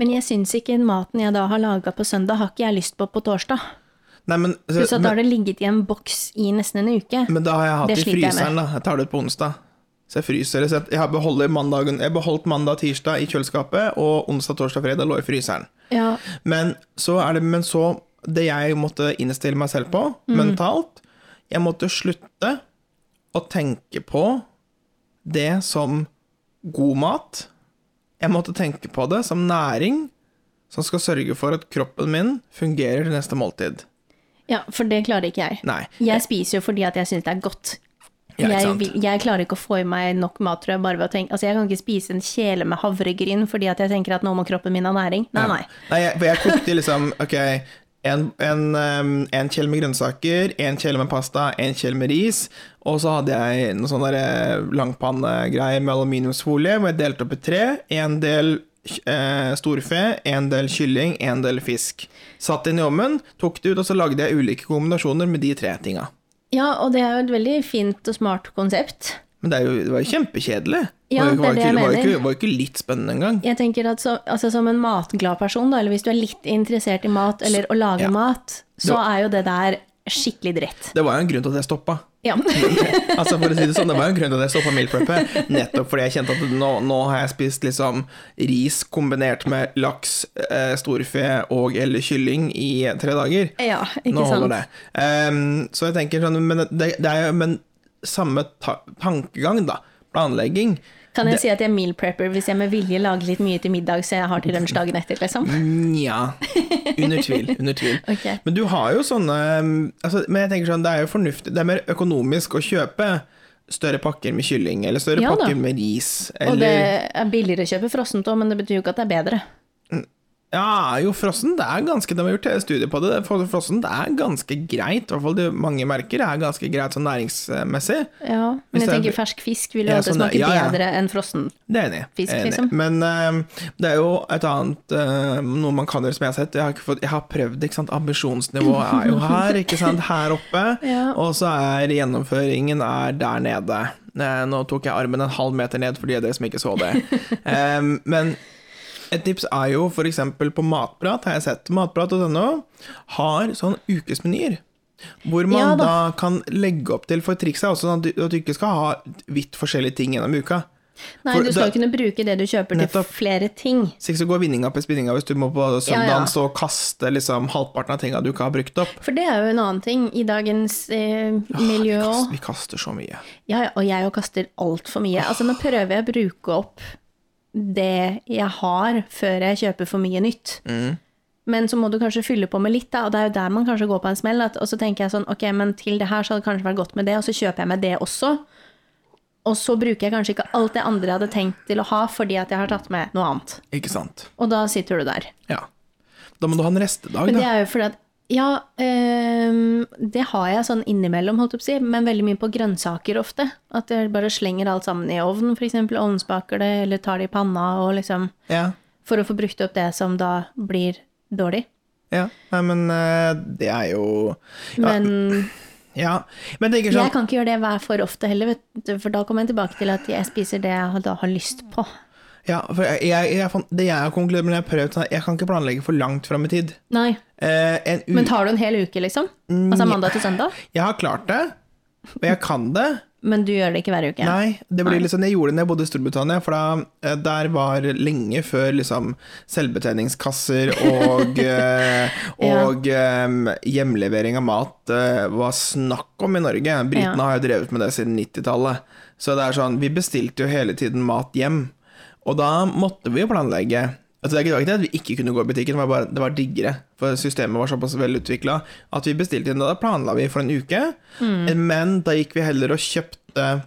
Speaker 2: Men jeg syns ikke maten jeg da har laga på søndag, har ikke jeg lyst på på torsdag.
Speaker 1: Nei, men, så,
Speaker 2: Pluss at da har
Speaker 1: men,
Speaker 2: det ligget i en boks i nesten en uke.
Speaker 1: men da har jeg hatt
Speaker 2: Det
Speaker 1: det i
Speaker 2: sliter jeg med.
Speaker 1: fryseren, da. Jeg tar det ut på onsdag. Så jeg fryser det. Så jeg- jeg har beholder mandagen, jeg beholdt mandag og tirsdag i kjøleskapet, og onsdag, torsdag og fredag lå i fryseren.
Speaker 2: Ja,
Speaker 1: Men så er det Men så Det jeg måtte innstille meg selv på,
Speaker 2: Mm.
Speaker 1: mentalt Jeg måtte slutte å tenke på det som god mat, Jeg måtte tenke på det som næring som skal sørge for at kroppen min fungerer til neste måltid.
Speaker 2: Ja, for det klarer ikke jeg.
Speaker 1: Nei.
Speaker 2: Jeg spiser jo fordi at jeg syns det er godt.
Speaker 1: Ja, ikke
Speaker 2: jeg,
Speaker 1: sant?
Speaker 2: vil- jeg klarer ikke å få i meg nok mat, tror jeg, bare ved å tenke Altså, jeg kan ikke spise en kjele med havregryn fordi at jeg tenker at nå må kroppen min ha næring. Nei, nei.
Speaker 1: Nei, jeg, for jeg kokte liksom Ok, en, en, ehm, en kjele med grønnsaker, en kjele med pasta, en kjele med ris. Og så hadde jeg noe sånn der, eh, langpannegreie med aluminiumsfolie, hvor jeg delte opp i tre. En del eh, storfe, en del kylling, en del fisk. Satt inn i ovnen, tok det ut, og så lagde jeg ulike kombinasjoner med de tre tinga.
Speaker 2: Ja, og det er jo et veldig fint og smart konsept.
Speaker 1: Men det, er jo, det var jo kjempekjedelig.
Speaker 2: Ja,
Speaker 1: var jo-
Speaker 2: det er det jeg
Speaker 1: var jo ikke, var jo
Speaker 2: mener.
Speaker 1: ikke, var jo ikke litt spennende engang.
Speaker 2: Jeg tenker at så, altså Som en matglad person, da, eller hvis du er litt interessert i mat eller å lage
Speaker 1: ja.
Speaker 2: mat, så
Speaker 1: Det var-
Speaker 2: er jo det der skikkelig dritt.
Speaker 1: Det var jo en grunn til at jeg stoppa.
Speaker 2: Ja.
Speaker 1: Altså for å si Det sånn, det var jo en grunn til at jeg stoppa meal preppet. Nettopp fordi jeg kjente at nå, nå har jeg spist liksom ris kombinert med laks, eh, storfe og eller kylling i tre dager.
Speaker 2: ja, ikke
Speaker 1: Nå
Speaker 2: sant.
Speaker 1: holder det. Ehm, så jeg tenker sånn Men det, det er jo men samme ta tankegang, da. Planlegging.
Speaker 2: Kan jeg si at jeg er meal prepper hvis jeg med vilje lager litt mye til middag så jeg har til lunsj dagen etter, liksom?
Speaker 1: Nja. Under tvil. Under tvil.
Speaker 2: Ok.
Speaker 1: Men du har jo sånne um, altså, Men jeg tenker sånn, det er jo fornuftig Det er mer økonomisk å kjøpe større pakker med kylling, eller større
Speaker 2: Ja da.
Speaker 1: pakker med ris,
Speaker 2: Og det
Speaker 1: eller
Speaker 2: er billigere å kjøpe frossent òg, men det betyr jo ikke at det er bedre.
Speaker 1: Ja, jo, frossen, det er ganske De har gjort studier på det. For Frossen, det er ganske greit. I hvert fall det mange merker er ganske greit sånn næringsmessig.
Speaker 2: Ja,
Speaker 1: Hvis
Speaker 2: men jeg
Speaker 1: det er-
Speaker 2: tenker fersk fisk vil jo
Speaker 1: Ja,
Speaker 2: alltid
Speaker 1: sånn det-
Speaker 2: smake
Speaker 1: ja, ja.
Speaker 2: bedre enn frossen.
Speaker 1: Det er jeg enig. i.
Speaker 2: Fisk,
Speaker 1: Jeg er enig.
Speaker 2: liksom.
Speaker 1: Men ehm, det er jo et annet eh, Noe man kan gjøre som jeg har sett. Jeg har, ikke fått, jeg har prøvd, ikke sant. Ambisjonsnivået er jo her, ikke sant. Her oppe.
Speaker 2: Ja.
Speaker 1: Og så er gjennomføringen er der nede. Eh, nå tok jeg armen en halv meter ned for de av dere som ikke så det. Ehm, men et tips er jo f.eks. på Matprat, har jeg sett. Matprat.no har sånn ukesmenyer. Hvor man
Speaker 2: Ja da.
Speaker 1: da. kan legge opp til, for trikset er også sånn at du, at du ikke skal ha vidt forskjellige ting gjennom uka.
Speaker 2: Nei,
Speaker 1: For
Speaker 2: du skal
Speaker 1: da-
Speaker 2: jo kunne bruke det du kjøper
Speaker 1: Nettopp.
Speaker 2: til flere ting.
Speaker 1: Så ikke så går vinninga på spinninga hvis du må på
Speaker 2: Ja, ja.
Speaker 1: søndagen så kaste liksom halvparten av tinga du ikke har brukt opp.
Speaker 2: For det er jo en annen ting i dagens eh, miljø
Speaker 1: Vi kaster,
Speaker 2: òg.
Speaker 1: vi kaster så mye.
Speaker 2: Ja, ja, og jeg jo kaster altfor mye. Altså, nå prøver jeg å bruke opp det jeg har, før jeg kjøper for mye nytt. Men så må du kanskje fylle på med litt, da, og det er jo der man kanskje går på en smell. At, og så tenker jeg sånn, ok, men til det her så hadde det kanskje vært godt med det, og så kjøper jeg meg det også. Og så bruker jeg kanskje ikke alt det andre jeg hadde tenkt til å ha, fordi at jeg har tatt med noe annet.
Speaker 1: Ikke sant.
Speaker 2: Og da sitter du der.
Speaker 1: Ja. Da må du ha en restedag,
Speaker 2: Men det
Speaker 1: da.
Speaker 2: er jo fordi at ja, øhm, det har jeg sånn innimellom, holdt jeg på å si, men veldig mye på grønnsaker ofte. At jeg bare slenger alt sammen i ovnen, f.eks. Ovnsbaker det, eller tar det i panna, og liksom
Speaker 1: Ja.
Speaker 2: For å få brukt opp det som da blir dårlig.
Speaker 1: ja. Nei, men eh, det er jo Ja.
Speaker 2: Men
Speaker 1: ja. Men jeg tenker
Speaker 2: jeg
Speaker 1: sånn
Speaker 2: kan ikke gjøre det hver for ofte heller, vet du, for da kommer jeg tilbake til at jeg spiser det jeg da har lyst på.
Speaker 1: ja, for jeg, jeg, jeg, fant- Det jeg har konkludert med, når jeg har prøvd sånn, jeg kan ikke planlegge for langt fram i tid.
Speaker 2: Nei.
Speaker 1: Eh, en u
Speaker 2: Men tar du en hel uke, liksom?
Speaker 1: Mm,
Speaker 2: Altså mandag til søndag?
Speaker 1: Jeg har klart det, og jeg kan det.
Speaker 2: Men du gjør det ikke hver uke?
Speaker 1: Nei, det blir liksom, jeg gjorde det når jeg bodde i Storbritannia, for da, eh, der var lenge før liksom selvbetjeningskasser og, eh,
Speaker 2: Ja.
Speaker 1: og eh, hjemlevering av mat eh, var snakk om i Norge. Britene
Speaker 2: Ja.
Speaker 1: har jo drevet med det siden 90-tallet. Så det er sånn, vi bestilte jo hele tiden mat hjem, og da måtte vi jo planlegge. Altså, det er ikke- det var ikke det at vi ikke kunne gå i butikken, det var, bare, det var diggere, for systemet var såpass velutvikla at vi bestilte inn, og da planla vi for en uke,
Speaker 2: Mm.
Speaker 1: men da gikk vi heller og kjøpte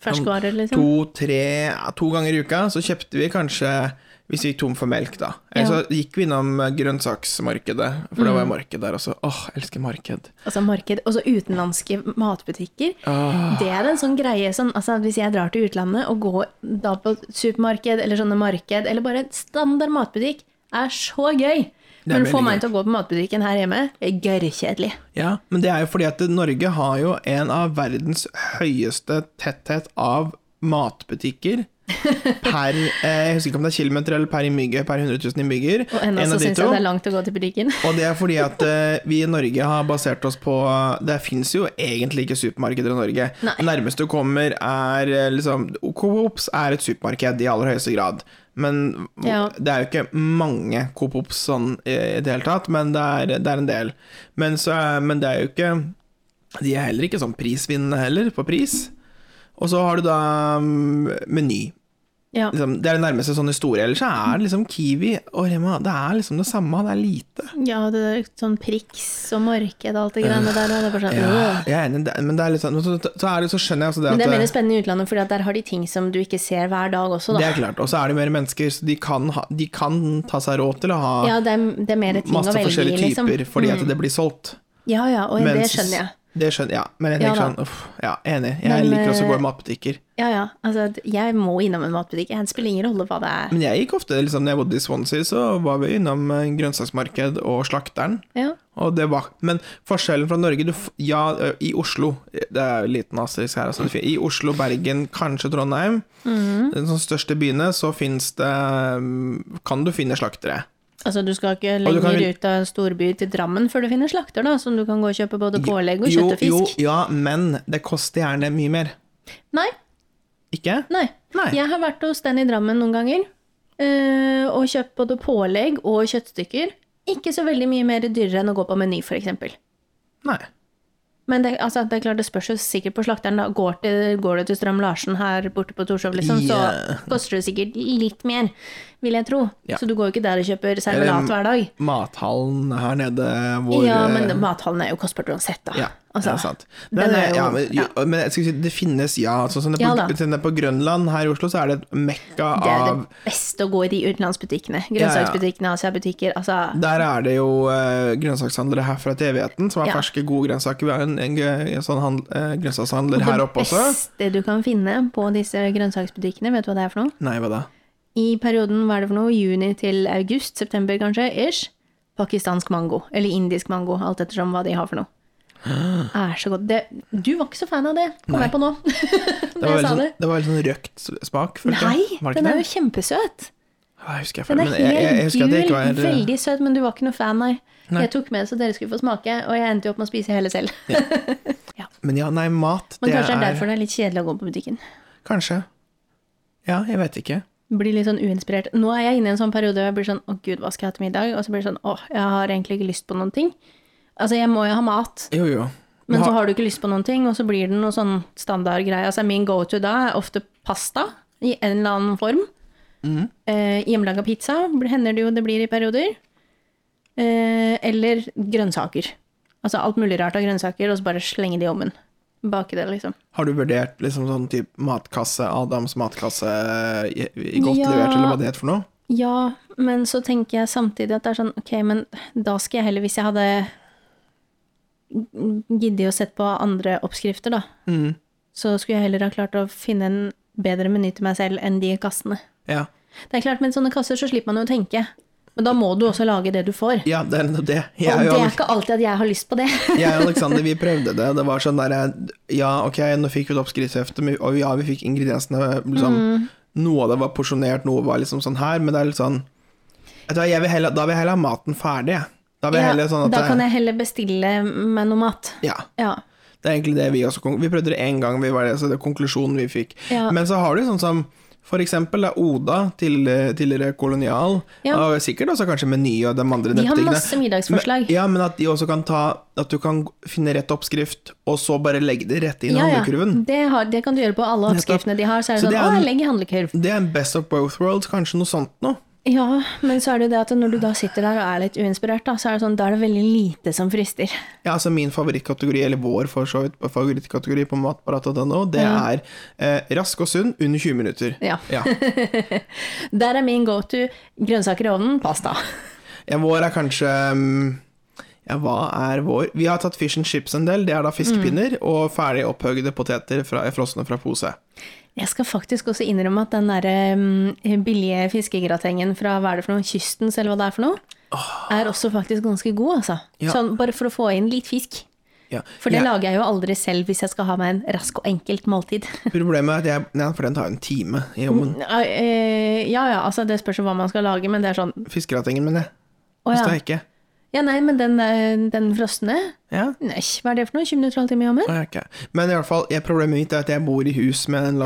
Speaker 2: Ferskvarer, liksom?
Speaker 1: to, tre, ja, to ganger i uka, så kjøpte vi kanskje hvis vi gikk tom for melk, da. Eller
Speaker 2: Ja. Mm.
Speaker 1: så gikk vi innom eh, grønnsaksmarkedet, for det var jo marked der også. Åh, jeg elsker marked.
Speaker 2: Altså marked, også utenlandske matbutikker.
Speaker 1: Ah.
Speaker 2: Det er en sånn greie som altså, Hvis jeg drar til utlandet og går da på supermarked eller sånne marked, eller bare en standard matbutikk, er så gøy.
Speaker 1: er
Speaker 2: Men å få
Speaker 1: veldig
Speaker 2: meg
Speaker 1: gøy.
Speaker 2: til å gå på matbutikken her hjemme, er gørrkjedelig.
Speaker 1: Ja, men det er jo fordi at Norge har jo en av verdens høyeste tetthet av matbutikker per eh, Jeg husker ikke om det er kilometer eller per innbygger, per 100 000 innbygger.
Speaker 2: Og ennå
Speaker 1: En
Speaker 2: så
Speaker 1: av de
Speaker 2: syns
Speaker 1: to.
Speaker 2: jeg det er langt å gå til butikken.
Speaker 1: Og det er fordi at eh, vi i Norge har basert oss på Det fins jo egentlig ikke supermarkeder i Norge.
Speaker 2: Nei.
Speaker 1: Det nærmeste du kommer, er eh, liksom Coop-ops er et supermarked i aller høyeste grad. Men
Speaker 2: Ja.
Speaker 1: det er jo ikke mange Coop-ops sånn eh, i det hele tatt, men det er, det er en del. Men, så, er- men det er jo ikke De er heller ikke sånn prisvinnende heller, på pris. Og så har du da mm, Meny.
Speaker 2: Ja.
Speaker 1: Liksom, det er det nærmeste sånn historie. Ellers så er det liksom Kiwi og Rema. Det er liksom det samme, det er lite.
Speaker 2: ja, det er sånn priks og marked og alt det greiene der. og Det er bare sånn,
Speaker 1: Ja,
Speaker 2: øh.
Speaker 1: jeg er enig, det- men det er litt sånn men så, så, er det, så skjønner jeg også det at
Speaker 2: Men det er mer spennende i utlandet, for der har de ting som du ikke ser hver dag også.
Speaker 1: Det
Speaker 2: Da.
Speaker 1: er klart. Og så er det mer mennesker, så de kan, ha, de kan ta seg råd til å ha
Speaker 2: ja, det er, det er mer ting
Speaker 1: masse
Speaker 2: å velge i,
Speaker 1: forskjellige
Speaker 2: liksom.
Speaker 1: typer, fordi at det blir solgt.
Speaker 2: Ja, ja, og det
Speaker 1: Mens-
Speaker 2: skjønner jeg.
Speaker 1: Det skjønner, ja, men jeg
Speaker 2: Ja
Speaker 1: tenker
Speaker 2: da.
Speaker 1: sånn, uff, ja, enig. Jeg
Speaker 2: Men,
Speaker 1: liker også å gå
Speaker 2: eh,
Speaker 1: i matbutikker.
Speaker 2: Ja, ja. Altså, at jeg må innom en matbutikk. Det spiller ingen rolle hva det er.
Speaker 1: Men jeg gikk ofte, liksom, når jeg bodde i Swansea, så var vi innom eh, grønnsaksmarked og slakteren.
Speaker 2: Ja.
Speaker 1: Og det var, men forskjellen fra Norge du, f- Ja, ø, i Oslo Det er jo en liten asterisk her. Altså, det fin- I Oslo, Bergen, kanskje Trondheim,
Speaker 2: Mhm.
Speaker 1: de sånn største byene, så finnes det mm, Kan du finne slaktere.
Speaker 2: Altså, du skal ikke
Speaker 1: Og du
Speaker 2: lenger
Speaker 1: kan vel-
Speaker 2: ut av storby til Drammen før du finner slakter, da, som du kan gå og kjøpe både pålegg og kjøtt og
Speaker 1: Jo,
Speaker 2: fisk.
Speaker 1: jo, ja, men det koster gjerne mye mer.
Speaker 2: Nei,
Speaker 1: Ikke?
Speaker 2: nei.
Speaker 1: Nei.
Speaker 2: Jeg har vært hos den i Drammen noen ganger eh, og kjøpt både pålegg og kjøttstykker. Ikke så veldig mye mer dyrere enn å gå på Meny, f.eks.
Speaker 1: Nei.
Speaker 2: Men det, altså, det er klart, det spørs jo sikkert på slakteren. da. Går, til, går du til Strøm Larsen her borte på Torshov, liksom,
Speaker 1: Ja.
Speaker 2: så koster det sikkert litt mer, vil jeg tro.
Speaker 1: Ja.
Speaker 2: Så du går jo ikke der og kjøper servelat hver dag.
Speaker 1: Mathallen her nede hvor
Speaker 2: ja,
Speaker 1: eh,
Speaker 2: men mathallen er jo kostbart uansett, da.
Speaker 1: Ja, det
Speaker 2: altså,
Speaker 1: er sant. Men, eh,
Speaker 2: den er jo-
Speaker 1: ja, men, jo, men jeg skal si, det finnes, ja. Sånn som det
Speaker 2: Ja
Speaker 1: på,
Speaker 2: da.
Speaker 1: sånn det på Grønland her i Oslo, så er det et mekka
Speaker 2: det er jo
Speaker 1: av
Speaker 2: det beste å gå i de utenlandsbutikkene.
Speaker 1: ja.
Speaker 2: Grønnsaksbutikkene, Asiabutikker, altså
Speaker 1: Der er det jo eh, grønnsakshandlere herfra til evigheten, som har
Speaker 2: Ja.
Speaker 1: ferske, gode grønnsaker. Vi har en, en, gø- en sånn hand, eh, grønnsakshandler her
Speaker 2: Det
Speaker 1: oppe også.
Speaker 2: beste du kan finne på disse grønnsaksbutikkene, vet du hva det er for noe?
Speaker 1: Nei, hva da?
Speaker 2: I perioden, hva er det for noe, juni til august, september kanskje, ish, pakistansk mango, eller indisk mango, alt ettersom hva de har for noe. Er så godt. Det, du var ikke så fan av det, kom jeg på nå.
Speaker 1: Det
Speaker 2: Når
Speaker 1: var
Speaker 2: jeg
Speaker 1: veldig
Speaker 2: sa
Speaker 1: sånn,
Speaker 2: det.
Speaker 1: det var veldig sånn røkt smak, følte
Speaker 2: Nei,
Speaker 1: jeg. Var det ikke
Speaker 2: den er
Speaker 1: det?
Speaker 2: jo kjempesøt.
Speaker 1: Ja, jeg husker jeg
Speaker 2: Den
Speaker 1: feil,
Speaker 2: er
Speaker 1: men jeg, jeg, jeg
Speaker 2: helt
Speaker 1: husker at det
Speaker 2: gul,
Speaker 1: ikke var
Speaker 2: veldig søt, men du var ikke noe fan, nei. Jeg tok med så dere skulle få smake, og jeg endte jo opp med å spise hele selv.
Speaker 1: Men ja, nei, mat,
Speaker 2: Men
Speaker 1: det
Speaker 2: kanskje det er
Speaker 1: er
Speaker 2: derfor det er litt kjedelig å gå på butikken.
Speaker 1: Kanskje. Ja, jeg vet ikke.
Speaker 2: Blir litt sånn uinspirert. Nå er jeg inne i en sånn periode hvor jeg blir sånn å gud, hva skal jeg ha til middag? Og så blir det sånn å, jeg har egentlig ikke lyst på noen ting. Altså, jeg må jo ha mat,
Speaker 1: Jo, jo.
Speaker 2: men
Speaker 1: Ha-
Speaker 2: så har du ikke lyst på noen ting, og så blir det noe sånn standardgreie. Altså, min go to da er ofte pasta i en eller annen form. Eh, Hjemmelaga pizza bl- hender det jo det blir i perioder. Eh, eller grønnsaker. Altså alt mulig rart av grønnsaker, og så bare slenge det i ovnen. Bake det, liksom.
Speaker 1: Har du vurdert liksom sånn typ matkasse, Adams matkasse, i- i godt
Speaker 2: Ja.
Speaker 1: levert, eller hva det heter for noe?
Speaker 2: Ja, men så tenker jeg samtidig at det er sånn Ok, men da skal jeg heller, hvis jeg hadde giddet å sett på andre oppskrifter, da,
Speaker 1: Mm.
Speaker 2: så skulle jeg heller ha klart å finne en bedre meny til meg selv enn de kassene.
Speaker 1: Ja,
Speaker 2: Det er klart, med sånne kasser så slipper man jo å tenke. Men da må du også lage det du får.
Speaker 1: ja det er nettopp det. Jeg
Speaker 2: Og
Speaker 1: er jo
Speaker 2: det er
Speaker 1: Alex-
Speaker 2: ikke alltid at jeg har lyst på det.
Speaker 1: Jeg og Alexander, vi prøvde det. Det var sånn derre Ja, ok, nå fikk vi et oppskriftshefte, men- og ja, vi fikk ingrediensene liksom,
Speaker 2: Mm.
Speaker 1: Noe av det var porsjonert, noe var liksom sånn her, men det er litt sånn Vet du hva, jeg vil heller, Da vil jeg heller ha maten ferdig, jeg. Da vil jeg
Speaker 2: Ja,
Speaker 1: heller sånn at
Speaker 2: da kan jeg heller bestille meg noe mat.
Speaker 1: Ja.
Speaker 2: Ja.
Speaker 1: Det er egentlig det vi også kon- Vi prøvde det én gang, vi var det, så det er konklusjonen vi fikk.
Speaker 2: Ja.
Speaker 1: Men så har du sånn som for eksempel da, Oda, tidligere, tidligere kolonial,
Speaker 2: Ja.
Speaker 1: og sikkert også kanskje Meny og de andre
Speaker 2: De har
Speaker 1: nettbutikkene.
Speaker 2: masse middagsforslag.
Speaker 1: Men, ja, men at de også kan ta At du kan finne rett oppskrift, og så bare legge det rett inn i
Speaker 2: ja, ja.
Speaker 1: handlekurven.
Speaker 2: Det, har, det kan du gjøre på alle oppskriftene de har. Så er det
Speaker 1: Så
Speaker 2: sånn
Speaker 1: det er
Speaker 2: Å,
Speaker 1: en-
Speaker 2: jeg legger handlekurv.
Speaker 1: Det er en best of both worlds, kanskje noe sånt noe.
Speaker 2: Ja, men så er det jo det at når du da sitter der og er litt uinspirert, da, så er det sånn, da er det veldig lite som frister.
Speaker 1: Ja, altså min favorittkategori, eller vår for så vidt, favorittkategori på matparat.no, det er eh, rask og sunn under 20 minutter.
Speaker 2: Ja.
Speaker 1: Ja.
Speaker 2: Der er min go to grønnsaker i ovnen, pasta.
Speaker 1: Ja, vår er kanskje mm, Ja, hva er vår? Vi har tatt fish and chips en del. Det er da fiskepinner
Speaker 2: Mm.
Speaker 1: og ferdig opphøgde poteter fra, eh, frosne fra pose.
Speaker 2: Jeg skal faktisk også innrømme at den derre mm, billige fiskegratengen fra hva er det for noe, Kystens eller hva det er for noe, er også faktisk ganske god, altså.
Speaker 1: Ja.
Speaker 2: Sånn bare for å få inn litt fisk.
Speaker 1: Ja.
Speaker 2: For det
Speaker 1: jeg,
Speaker 2: lager jeg jo aldri selv hvis jeg skal ha meg en rask og enkelt måltid.
Speaker 1: Problemet er at jeg Nei, for den tar jo en time i ovnen.
Speaker 2: Ja, eh, ja ja, altså det spørs jo hva man skal lage, men det er sånn
Speaker 1: Fiskeratingen, men jeg.
Speaker 2: Å
Speaker 1: Hvis
Speaker 2: ja.
Speaker 1: det er ikke.
Speaker 2: ja, nei, men den, eh, den frosne
Speaker 1: Ja.
Speaker 2: Nei, hva er det for noe? 20 minutter, halvtime i ovnen?
Speaker 1: Å, ja, ok. Men i hvert fall, jeg, problemet mitt er at jeg bor i hus med en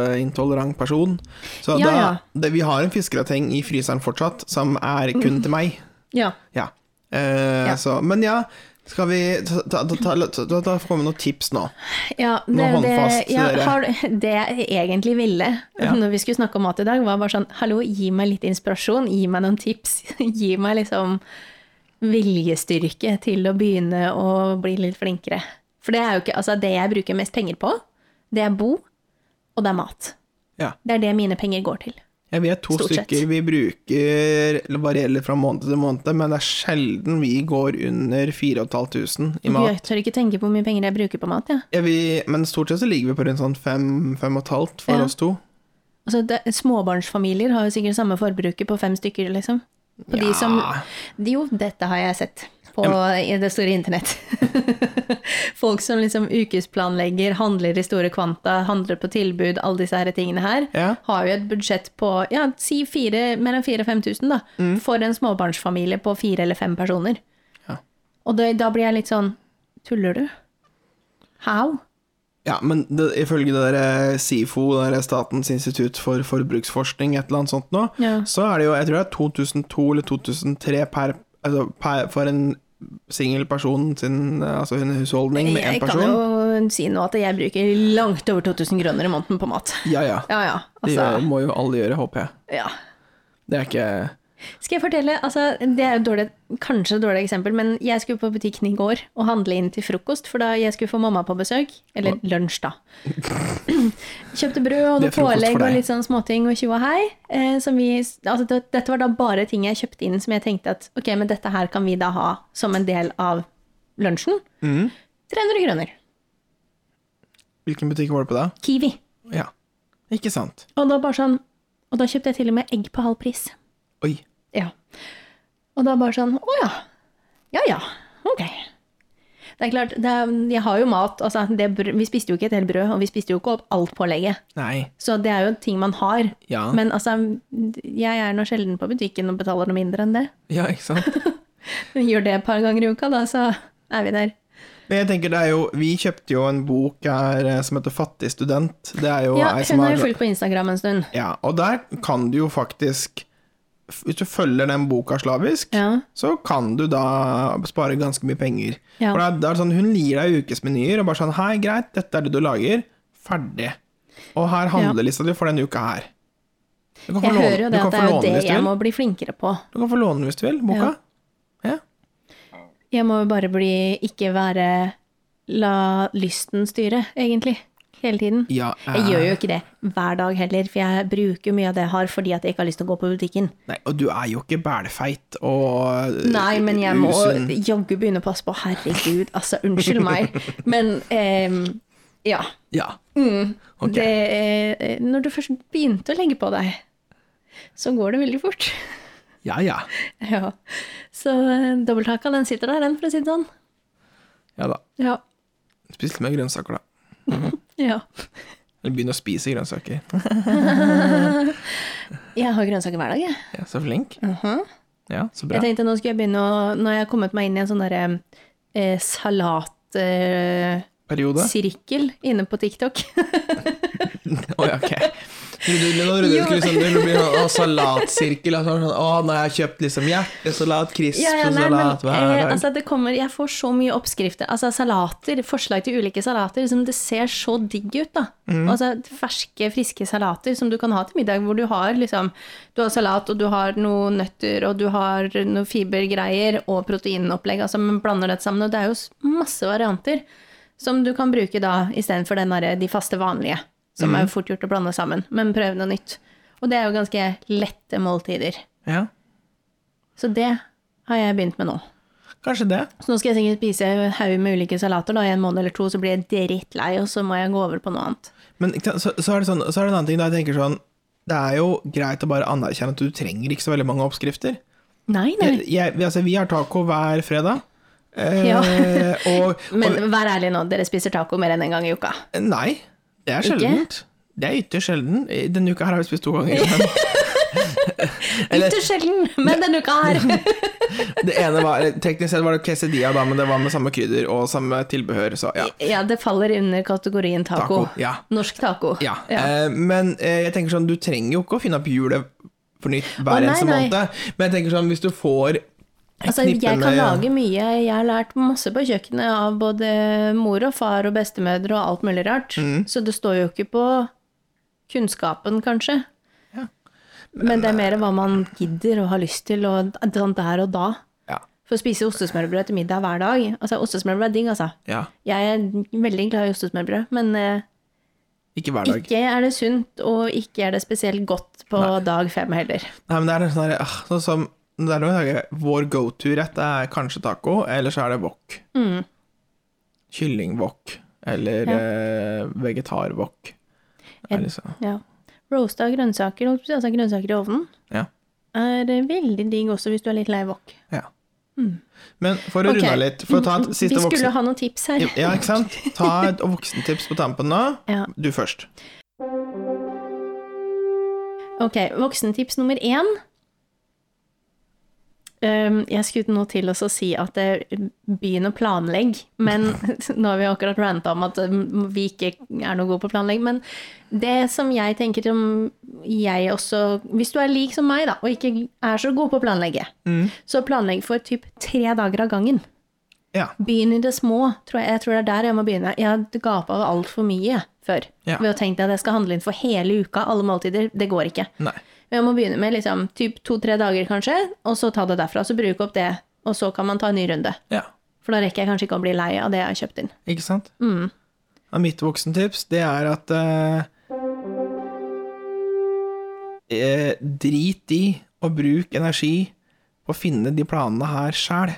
Speaker 1: laktoseintolerant person. Så
Speaker 2: Ja,
Speaker 1: da,
Speaker 2: ja.
Speaker 1: Det, vi har en fiskerateng i fryseren fortsatt, som er kun til meg.
Speaker 2: Mm. Ja.
Speaker 1: Ja. Eh, Så, men ja, Skal vi ta, ta, ta, ta, ta, ta, ta Kom med noen tips nå.
Speaker 2: Ja, det,
Speaker 1: Nå håndfast,
Speaker 2: det, ja,
Speaker 1: dere.
Speaker 2: har, det jeg egentlig ville
Speaker 1: Ja.
Speaker 2: når vi skulle snakke om mat i dag, var bare sånn Hallo, gi meg litt inspirasjon. Gi meg noen tips. Gi meg liksom viljestyrke til å begynne å bli litt flinkere. For det er jo ikke Altså, det jeg bruker mest penger på, det er bo, og det er mat.
Speaker 1: Ja.
Speaker 2: Det er det mine penger går til.
Speaker 1: Jeg vet to
Speaker 2: Stort sett.
Speaker 1: stykker vi bruker, eller varierer fra måned til måned, men det er sjelden vi går under 4500 i mat.
Speaker 2: Jeg tør ikke tenke på hvor mye penger jeg bruker på mat, jeg. Ja.
Speaker 1: Ja, vi, men stort sett så ligger vi på rundt sånn fem, fem og et halvt for
Speaker 2: Ja.
Speaker 1: oss to.
Speaker 2: Altså, det, småbarnsfamilier har jo sikkert samme forbruket på fem stykker, liksom. På de
Speaker 1: Ja.
Speaker 2: som Jo, dette har jeg sett på i det store internett. Folk som liksom ukesplanlegger, handler i store kvanta, handler på tilbud, alle disse her tingene her.
Speaker 1: Ja.
Speaker 2: Har jo et budsjett på ja, si fire, mellom 4000-5000, da. For en småbarnsfamilie på fire eller fem
Speaker 1: Mm.
Speaker 2: personer.
Speaker 1: Ja.
Speaker 2: Og det, da blir jeg litt sånn Tuller du? How?
Speaker 1: Ja, men det, ifølge det der eh, SIFO, det der Statens institutt for forbruksforskning, et eller annet sånt nå,
Speaker 2: Ja.
Speaker 1: så er det jo, jeg tror det er 2002 eller 2003 per, altså per, for en singel person sin, altså en husholdning med én
Speaker 2: Jeg kan
Speaker 1: person.
Speaker 2: jo si nå at jeg bruker langt over 2000 kroner i måneden på mat.
Speaker 1: Ja, ja.
Speaker 2: Ja, ja.
Speaker 1: Det gjør-
Speaker 2: Altså,
Speaker 1: må jo alle gjøre, håper jeg.
Speaker 2: ja.
Speaker 1: Det er ikke
Speaker 2: Skal jeg fortelle, altså det er jo et dårlig, kanskje et dårlig eksempel, men jeg skulle på butikken i går og handle inn til frokost, for da jeg skulle få mamma på besøk, eller lunsj da. Kjøpte brød
Speaker 1: Det er
Speaker 2: og noe
Speaker 1: frokost for
Speaker 2: pålegg og
Speaker 1: deg.
Speaker 2: litt sånn småting og tjo og hei. Eh, som vi, altså det, dette var da bare ting jeg kjøpte inn som jeg tenkte at ok, men dette her kan vi da ha som en del av lunsjen.
Speaker 1: Mm.
Speaker 2: 300 kroner.
Speaker 1: Hvilken butikk var det på da?
Speaker 2: Kiwi.
Speaker 1: Ja. Ikke sant.
Speaker 2: Og da bare sånn, og da kjøpte jeg til og med egg på halv pris.
Speaker 1: Oi.
Speaker 2: Ja. Og da bare sånn Å ja. Ja ja. Ok. Det er klart, det er, jeg har jo mat. Altså, det, br- vi spiste jo ikke et helt brød, og vi spiste jo ikke opp alt pålegget.
Speaker 1: Nei.
Speaker 2: Så det er jo ting man har.
Speaker 1: Ja.
Speaker 2: Men altså, jeg er nå sjelden på butikken og betaler noe mindre enn det.
Speaker 1: Ja, ikke sant.
Speaker 2: Gjør det et par ganger i uka, da, så er vi der.
Speaker 1: Men jeg tenker det er jo, Vi kjøpte jo en bok her eh, som heter Fattig student. Det er jo
Speaker 2: Ja,
Speaker 1: ei som
Speaker 2: hun har
Speaker 1: har
Speaker 2: jo fulgt på Instagram en stund.
Speaker 1: ja, Og der kan du jo faktisk Hvis du følger den boka slavisk,
Speaker 2: Ja.
Speaker 1: så kan du da spare ganske mye penger.
Speaker 2: Ja.
Speaker 1: For det er, det er sånn, Hun gir deg ukesmenyer og bare sånn Hei, greit, dette er det du lager. Ferdig. Og her handlelista di for denne uka her. Du kan få
Speaker 2: Jeg
Speaker 1: låne,
Speaker 2: hører jo
Speaker 1: du
Speaker 2: det
Speaker 1: kan
Speaker 2: at det
Speaker 1: få
Speaker 2: er jo
Speaker 1: låne
Speaker 2: det
Speaker 1: hvis du
Speaker 2: jeg
Speaker 1: vil.
Speaker 2: må bli flinkere på.
Speaker 1: Du kan få låne den hvis du vil, boka. Ja.
Speaker 2: Jeg må jo bare bli Ikke være La lysten styre, egentlig. Hele tiden.
Speaker 1: Ja,
Speaker 2: Jeg
Speaker 1: eh,
Speaker 2: gjør jo ikke det hver dag heller, for jeg bruker mye av det jeg har fordi at jeg ikke har lyst til å gå på butikken.
Speaker 1: eh, Nei, og du er jo ikke bælfeit og eh,
Speaker 2: Nei, men jeg må
Speaker 1: usunn.
Speaker 2: jaggu begynne å passe på. Herregud, altså, unnskyld meg. Men ehm, ja.
Speaker 1: Ja. Ok.
Speaker 2: Mm, Det, eh, når du først begynte å legge på deg, så går det veldig fort.
Speaker 1: Ja, ja.
Speaker 2: Ja. Så eh, dobbelthaka, den sitter der, den, for å si det sånn.
Speaker 1: Ja da.
Speaker 2: Ja.
Speaker 1: Spis litt mer grønnsaker, da.
Speaker 2: ja.
Speaker 1: Eller begynn å spise grønnsaker.
Speaker 2: Jeg har grønnsaker hver dag, jeg.
Speaker 1: Ja, så flink. Ja, så bra.
Speaker 2: Mhm. Jeg tenkte nå skulle jeg begynne å Når jeg har kommet meg inn i en sånn derre eh, salat... Eh,
Speaker 1: Periode.
Speaker 2: sirkel inne på TikTok.
Speaker 1: Oi, ok. Trodde du- Nå trodde du
Speaker 2: Jo.
Speaker 1: skulle liksom, det blir sånn å, salatsirkel. Og sånn, sånn, å, nå har jeg kjøpt liksom hjertesalat, crisp
Speaker 2: Ja, ja, nei, men,
Speaker 1: salat hver
Speaker 2: eh,
Speaker 1: dag.
Speaker 2: altså det kommer, jeg får så mye oppskrifter, altså salater, forslag til ulike salater, som det ser så digg ut da.
Speaker 1: Mm.
Speaker 2: Altså ferske, friske salater som du kan ha til middag, hvor du har liksom, du har salat, og du har noen nøtter, og du har noen fibergreier, og proteinopplegg, altså man blander dette sammen, og det er jo s- masse varianter som du kan bruke da, i stedet for den derre- de faste vanlige, som
Speaker 1: Mm.
Speaker 2: er jo fort gjort å blande sammen, men prøv noe nytt. Og det er jo ganske lette måltider.
Speaker 1: ja.
Speaker 2: Så det har jeg begynt med nå.
Speaker 1: Kanskje det.
Speaker 2: Så nå skal jeg sikkert spise en haug med ulike salater da, i en måned eller to, så blir jeg drittlei, og så må jeg gå over på noe annet.
Speaker 1: Men ikke sant, så, så, er det sånn, så er det en annen ting da jeg tenker sånn Det er jo greit å bare anerkjenne at du trenger ikke så veldig mange oppskrifter.
Speaker 2: Nei, nei.
Speaker 1: Jeg, jeg, vi- altså, vi har taco hver fredag. Eh,
Speaker 2: Ja.
Speaker 1: og,
Speaker 2: Men vær ærlig nå, dere spiser taco mer enn en gang i uka.
Speaker 1: Nei, det er
Speaker 2: Ikke?
Speaker 1: sjeldent. Det er ytterst sjelden. I Denne uka her har vi spist to ganger. Men Eller-
Speaker 2: Ytterst sjelden, men denne uka her!
Speaker 1: det ene var, eller teknisk sett var det quesadilla, da, men det var med samme krydder og samme tilbehør. Så ja.
Speaker 2: Ja, det faller under kategorien taco.
Speaker 1: Taco, ja.
Speaker 2: Norsk taco.
Speaker 1: ja. Eh, men eh, jeg tenker sånn, du trenger jo ikke å finne opp hjulet for nytt hver
Speaker 2: Å, nei,
Speaker 1: eneste
Speaker 2: nei.
Speaker 1: måned. Men jeg tenker sånn, hvis du får
Speaker 2: Altså, jeg
Speaker 1: knippe
Speaker 2: kan
Speaker 1: med-
Speaker 2: lage mye. Jeg har lært masse på kjøkkenet av både mor og far og bestemødre og alt mulig rart.
Speaker 1: Mm.
Speaker 2: Så det står jo ikke på kunnskapen, kanskje.
Speaker 1: Ja.
Speaker 2: Men, det er mer hva man gidder og har lyst til, og sånn der og da.
Speaker 1: Ja.
Speaker 2: For å spise ostesmørbrød til middag hver dag Altså, ostesmørbrød er digg, altså.
Speaker 1: ja.
Speaker 2: Jeg er veldig glad i ostesmørbrød, men eh,
Speaker 1: Ikke hver dag.
Speaker 2: ikke er det sunt, og ikke er det spesielt godt på dag fem heller.
Speaker 1: Nei, men det er noe sånn der, ah, sånn som det er noen dager, Vår go to-rett er kanskje taco, eller så er det wok. Kyllingwok eller
Speaker 2: Mm. Ja.
Speaker 1: eh, vegetarwok. Det er Liksom,
Speaker 2: Ja. Roasta grønnsaker, holdt på å si, altså grønnsaker i ovnen,
Speaker 1: ja.
Speaker 2: er eh, veldig digg også hvis du er litt lei wok.
Speaker 1: ja. Men for å
Speaker 2: Mm. Ok.
Speaker 1: runde av litt For å ta et
Speaker 2: Vi
Speaker 1: siste
Speaker 2: skulle
Speaker 1: voksen...
Speaker 2: ha noen tips her.
Speaker 1: Ja, ikke sant? Ta et voksentips på tampen nå.
Speaker 2: Ja.
Speaker 1: Du først.
Speaker 2: Ok, voksentips nummer én. Ehm, jeg skulle nå til også å si at eh, begynn å planlegge, men nå har vi akkurat ranta om at eh, vi ikke er noe gode på å planlegge. Men det som jeg tenker om jeg også Hvis du er lik som meg, da, og ikke er så god på å planlegge,
Speaker 1: Mm.
Speaker 2: så planlegg for typ tre dager av gangen.
Speaker 1: Ja.
Speaker 2: Begynn i det små, tror jeg. Jeg tror det er der jeg må begynne. Jeg har gapa over altfor mye før.
Speaker 1: Ja.
Speaker 2: Ved å tenke at jeg skal handle inn for hele uka, alle måltider. Det går ikke.
Speaker 1: Nei.
Speaker 2: Men jeg må begynne med liksom, typ to-tre dager, kanskje, og så ta det derfra. Så bruke opp det, og så kan man ta en ny runde.
Speaker 1: Ja.
Speaker 2: For da rekker jeg kanskje ikke å bli lei av det jeg har kjøpt inn.
Speaker 1: Ikke sant? Ja, mitt voksentips, det er at eh, eh, Drit i å bruke energi på å finne de planene her sjæl.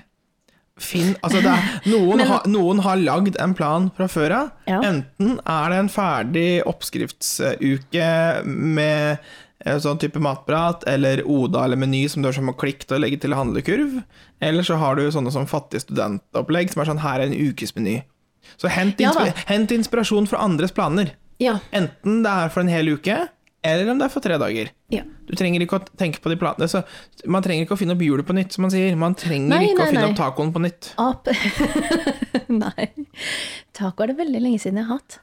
Speaker 1: Finn Altså, det er, noen, har- noen har lagd en plan fra før av.
Speaker 2: Ja.
Speaker 1: Enten er det en ferdig oppskriftsuke med en sånn type matprat, eller Oda eller Meny som du har som å klikke til å legge til handlekurv. Eller så har du sånne som fattig studentopplegg, som er sånn her er en ukesmeny. Så hent,
Speaker 2: Ja da.
Speaker 1: inspi hent inspirasjon fra andres planer.
Speaker 2: Ja.
Speaker 1: Enten det er for en hel uke, eller om det er for tre dager. Du trenger ikke å tenke på de planene så Man trenger ikke å finne opp hjulet på nytt, som man sier. Man trenger
Speaker 2: Nei,
Speaker 1: ikke
Speaker 2: nei,
Speaker 1: å finne
Speaker 2: nei.
Speaker 1: opp tacoen på nytt.
Speaker 2: Ap Nei. Taco er det veldig lenge siden jeg har hatt.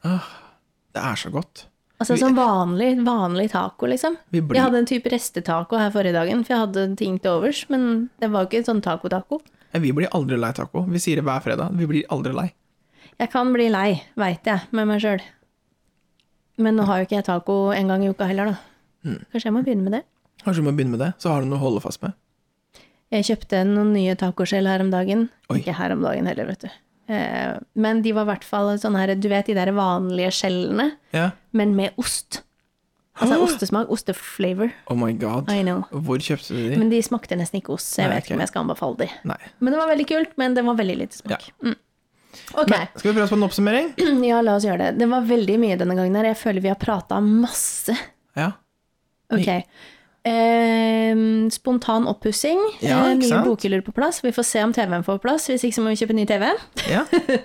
Speaker 1: Det er så godt.
Speaker 2: Altså sånn vanlig, vanlig taco, liksom.
Speaker 1: Vi blir-
Speaker 2: Jeg hadde en type restetaco her forrige dagen, for jeg hadde ting til overs. Men det var jo ikke sånn taco-taco.
Speaker 1: Ja, Vi blir aldri lei taco. Vi sier det hver fredag. Vi blir aldri lei.
Speaker 2: Jeg kan bli lei, veit jeg, med meg sjøl. Men nå har jo ikke jeg taco en gang i uka heller,
Speaker 1: Hmm.
Speaker 2: da. Kanskje jeg må begynne med det.
Speaker 1: Kanskje du må begynne med det, så har du noe å holde fast med.
Speaker 2: Jeg kjøpte noen nye tacoskjell her om dagen.
Speaker 1: Oi.
Speaker 2: Ikke her om dagen heller, vet du. Eh, Men de var i hvert fall sånn her, du vet de der vanlige skjellene,
Speaker 1: Ja.
Speaker 2: men med ost.
Speaker 1: Ah.
Speaker 2: Altså ostesmak, osteflavor.
Speaker 1: Oh my god.
Speaker 2: I know.
Speaker 1: Hvor kjøpte du de?
Speaker 2: Men de smakte nesten ikke ost, så jeg
Speaker 1: Nei,
Speaker 2: vet ikke
Speaker 1: ok.
Speaker 2: om jeg skal anbefale de.
Speaker 1: Nei.
Speaker 2: Men det var veldig kult, men det var veldig lite smak. Mm. Ok,
Speaker 1: Men, skal vi prøve oss på en oppsummering?
Speaker 2: ja, la oss gjøre det. Det var veldig mye denne gangen her. Jeg føler vi har prata masse.
Speaker 1: Ja.
Speaker 2: Ok. Ehm, spontan oppussing.
Speaker 1: Ja,
Speaker 2: Eh,
Speaker 1: ikke
Speaker 2: nye
Speaker 1: sant?
Speaker 2: bokhyller på plass. Vi får se om TV-en får plass. Hvis ikke så må vi kjøpe ny TV.
Speaker 1: ja.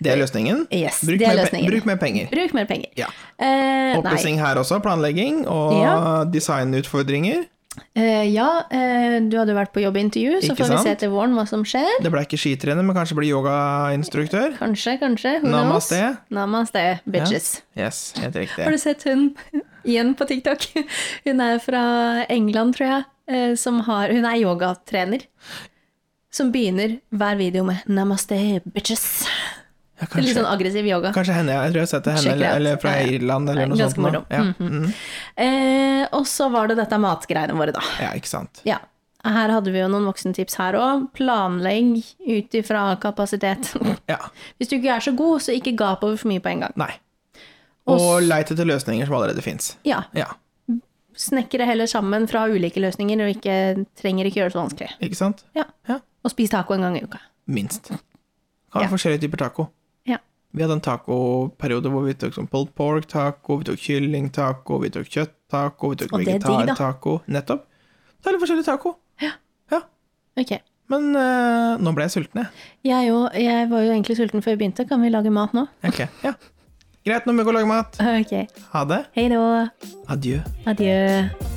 Speaker 1: Det er løsningen.
Speaker 2: Yes,
Speaker 1: bruk,
Speaker 2: det er
Speaker 1: mer pe-
Speaker 2: løsningen.
Speaker 1: bruk mer penger.
Speaker 2: Bruk mer penger.
Speaker 1: Ja.
Speaker 2: Eh, nei.
Speaker 1: Oppussing her også. Planlegging og
Speaker 2: Ja.
Speaker 1: designutfordringer.
Speaker 2: Eh, ja, eh, du hadde vært på jobbintervju, så
Speaker 1: Ikke
Speaker 2: får vi se
Speaker 1: sant?
Speaker 2: til våren hva som skjer.
Speaker 1: Det ble ikke skitrener, men kanskje bli yogainstruktør.
Speaker 2: Kanskje, kanskje. Who
Speaker 1: Namaste.
Speaker 2: knows? Namaste, bitches.
Speaker 1: Yes, helt
Speaker 2: Har
Speaker 1: riktig.
Speaker 2: du sett hun igjen på TikTok? Hun er fra England, tror jeg. eh, Som har, hun er yogatrener. Som begynner hver video med 'namaste, bitches'.
Speaker 1: Ja,
Speaker 2: Litt
Speaker 1: kanskje,
Speaker 2: sånn aggressiv yoga.
Speaker 1: kanskje henne, jeg tror jeg har sett det henne,
Speaker 2: Sjekk det
Speaker 1: eller,
Speaker 2: ut.
Speaker 1: eller fra
Speaker 2: Ja, ja.
Speaker 1: Irland eller noe
Speaker 2: Ganske
Speaker 1: sånt. nå.
Speaker 2: moro.
Speaker 1: Ja. mhm.
Speaker 2: Eh, og så var det dette matgreiene våre, da.
Speaker 1: ja, ikke sant.
Speaker 2: Ja. Her hadde vi jo noen voksentips her òg. Planlegg ut ifra kapasitet.
Speaker 1: Ja.
Speaker 2: Hvis du ikke er så god, så ikke gap over for mye på en gang.
Speaker 1: Nei.
Speaker 2: Og
Speaker 1: Og leit etter løsninger som allerede fins.
Speaker 2: Ja,
Speaker 1: Ja,
Speaker 2: Snekre heller sammen fra ulike løsninger, og ikke, trenger ikke gjøre det så vanskelig.
Speaker 1: ikke sant?
Speaker 2: Ja.
Speaker 1: Ja.
Speaker 2: Og spis taco en gang i uka.
Speaker 1: Minst. Kan
Speaker 2: Ja.
Speaker 1: ha forskjellige typer taco.
Speaker 2: Ja.
Speaker 1: Vi hadde en tacoperiode hvor vi tok sånn pulled pork taco, vi tok kylling taco, vi tok kjøtt taco, vi tok
Speaker 2: Og det er digg, da.
Speaker 1: vegetar taco. Nettopp. Det er litt forskjellig taco.
Speaker 2: Ok.
Speaker 1: Men eh, nå ble jeg sulten, jeg.
Speaker 2: Jeg, jo, jeg var jo egentlig sulten før vi begynte. Kan vi lage mat nå?
Speaker 1: Ok, ja. Greit, nå må vi gå og lage mat.
Speaker 2: Ok.
Speaker 1: Ha det.
Speaker 2: Hei da.
Speaker 1: Adjø.
Speaker 2: Adjø.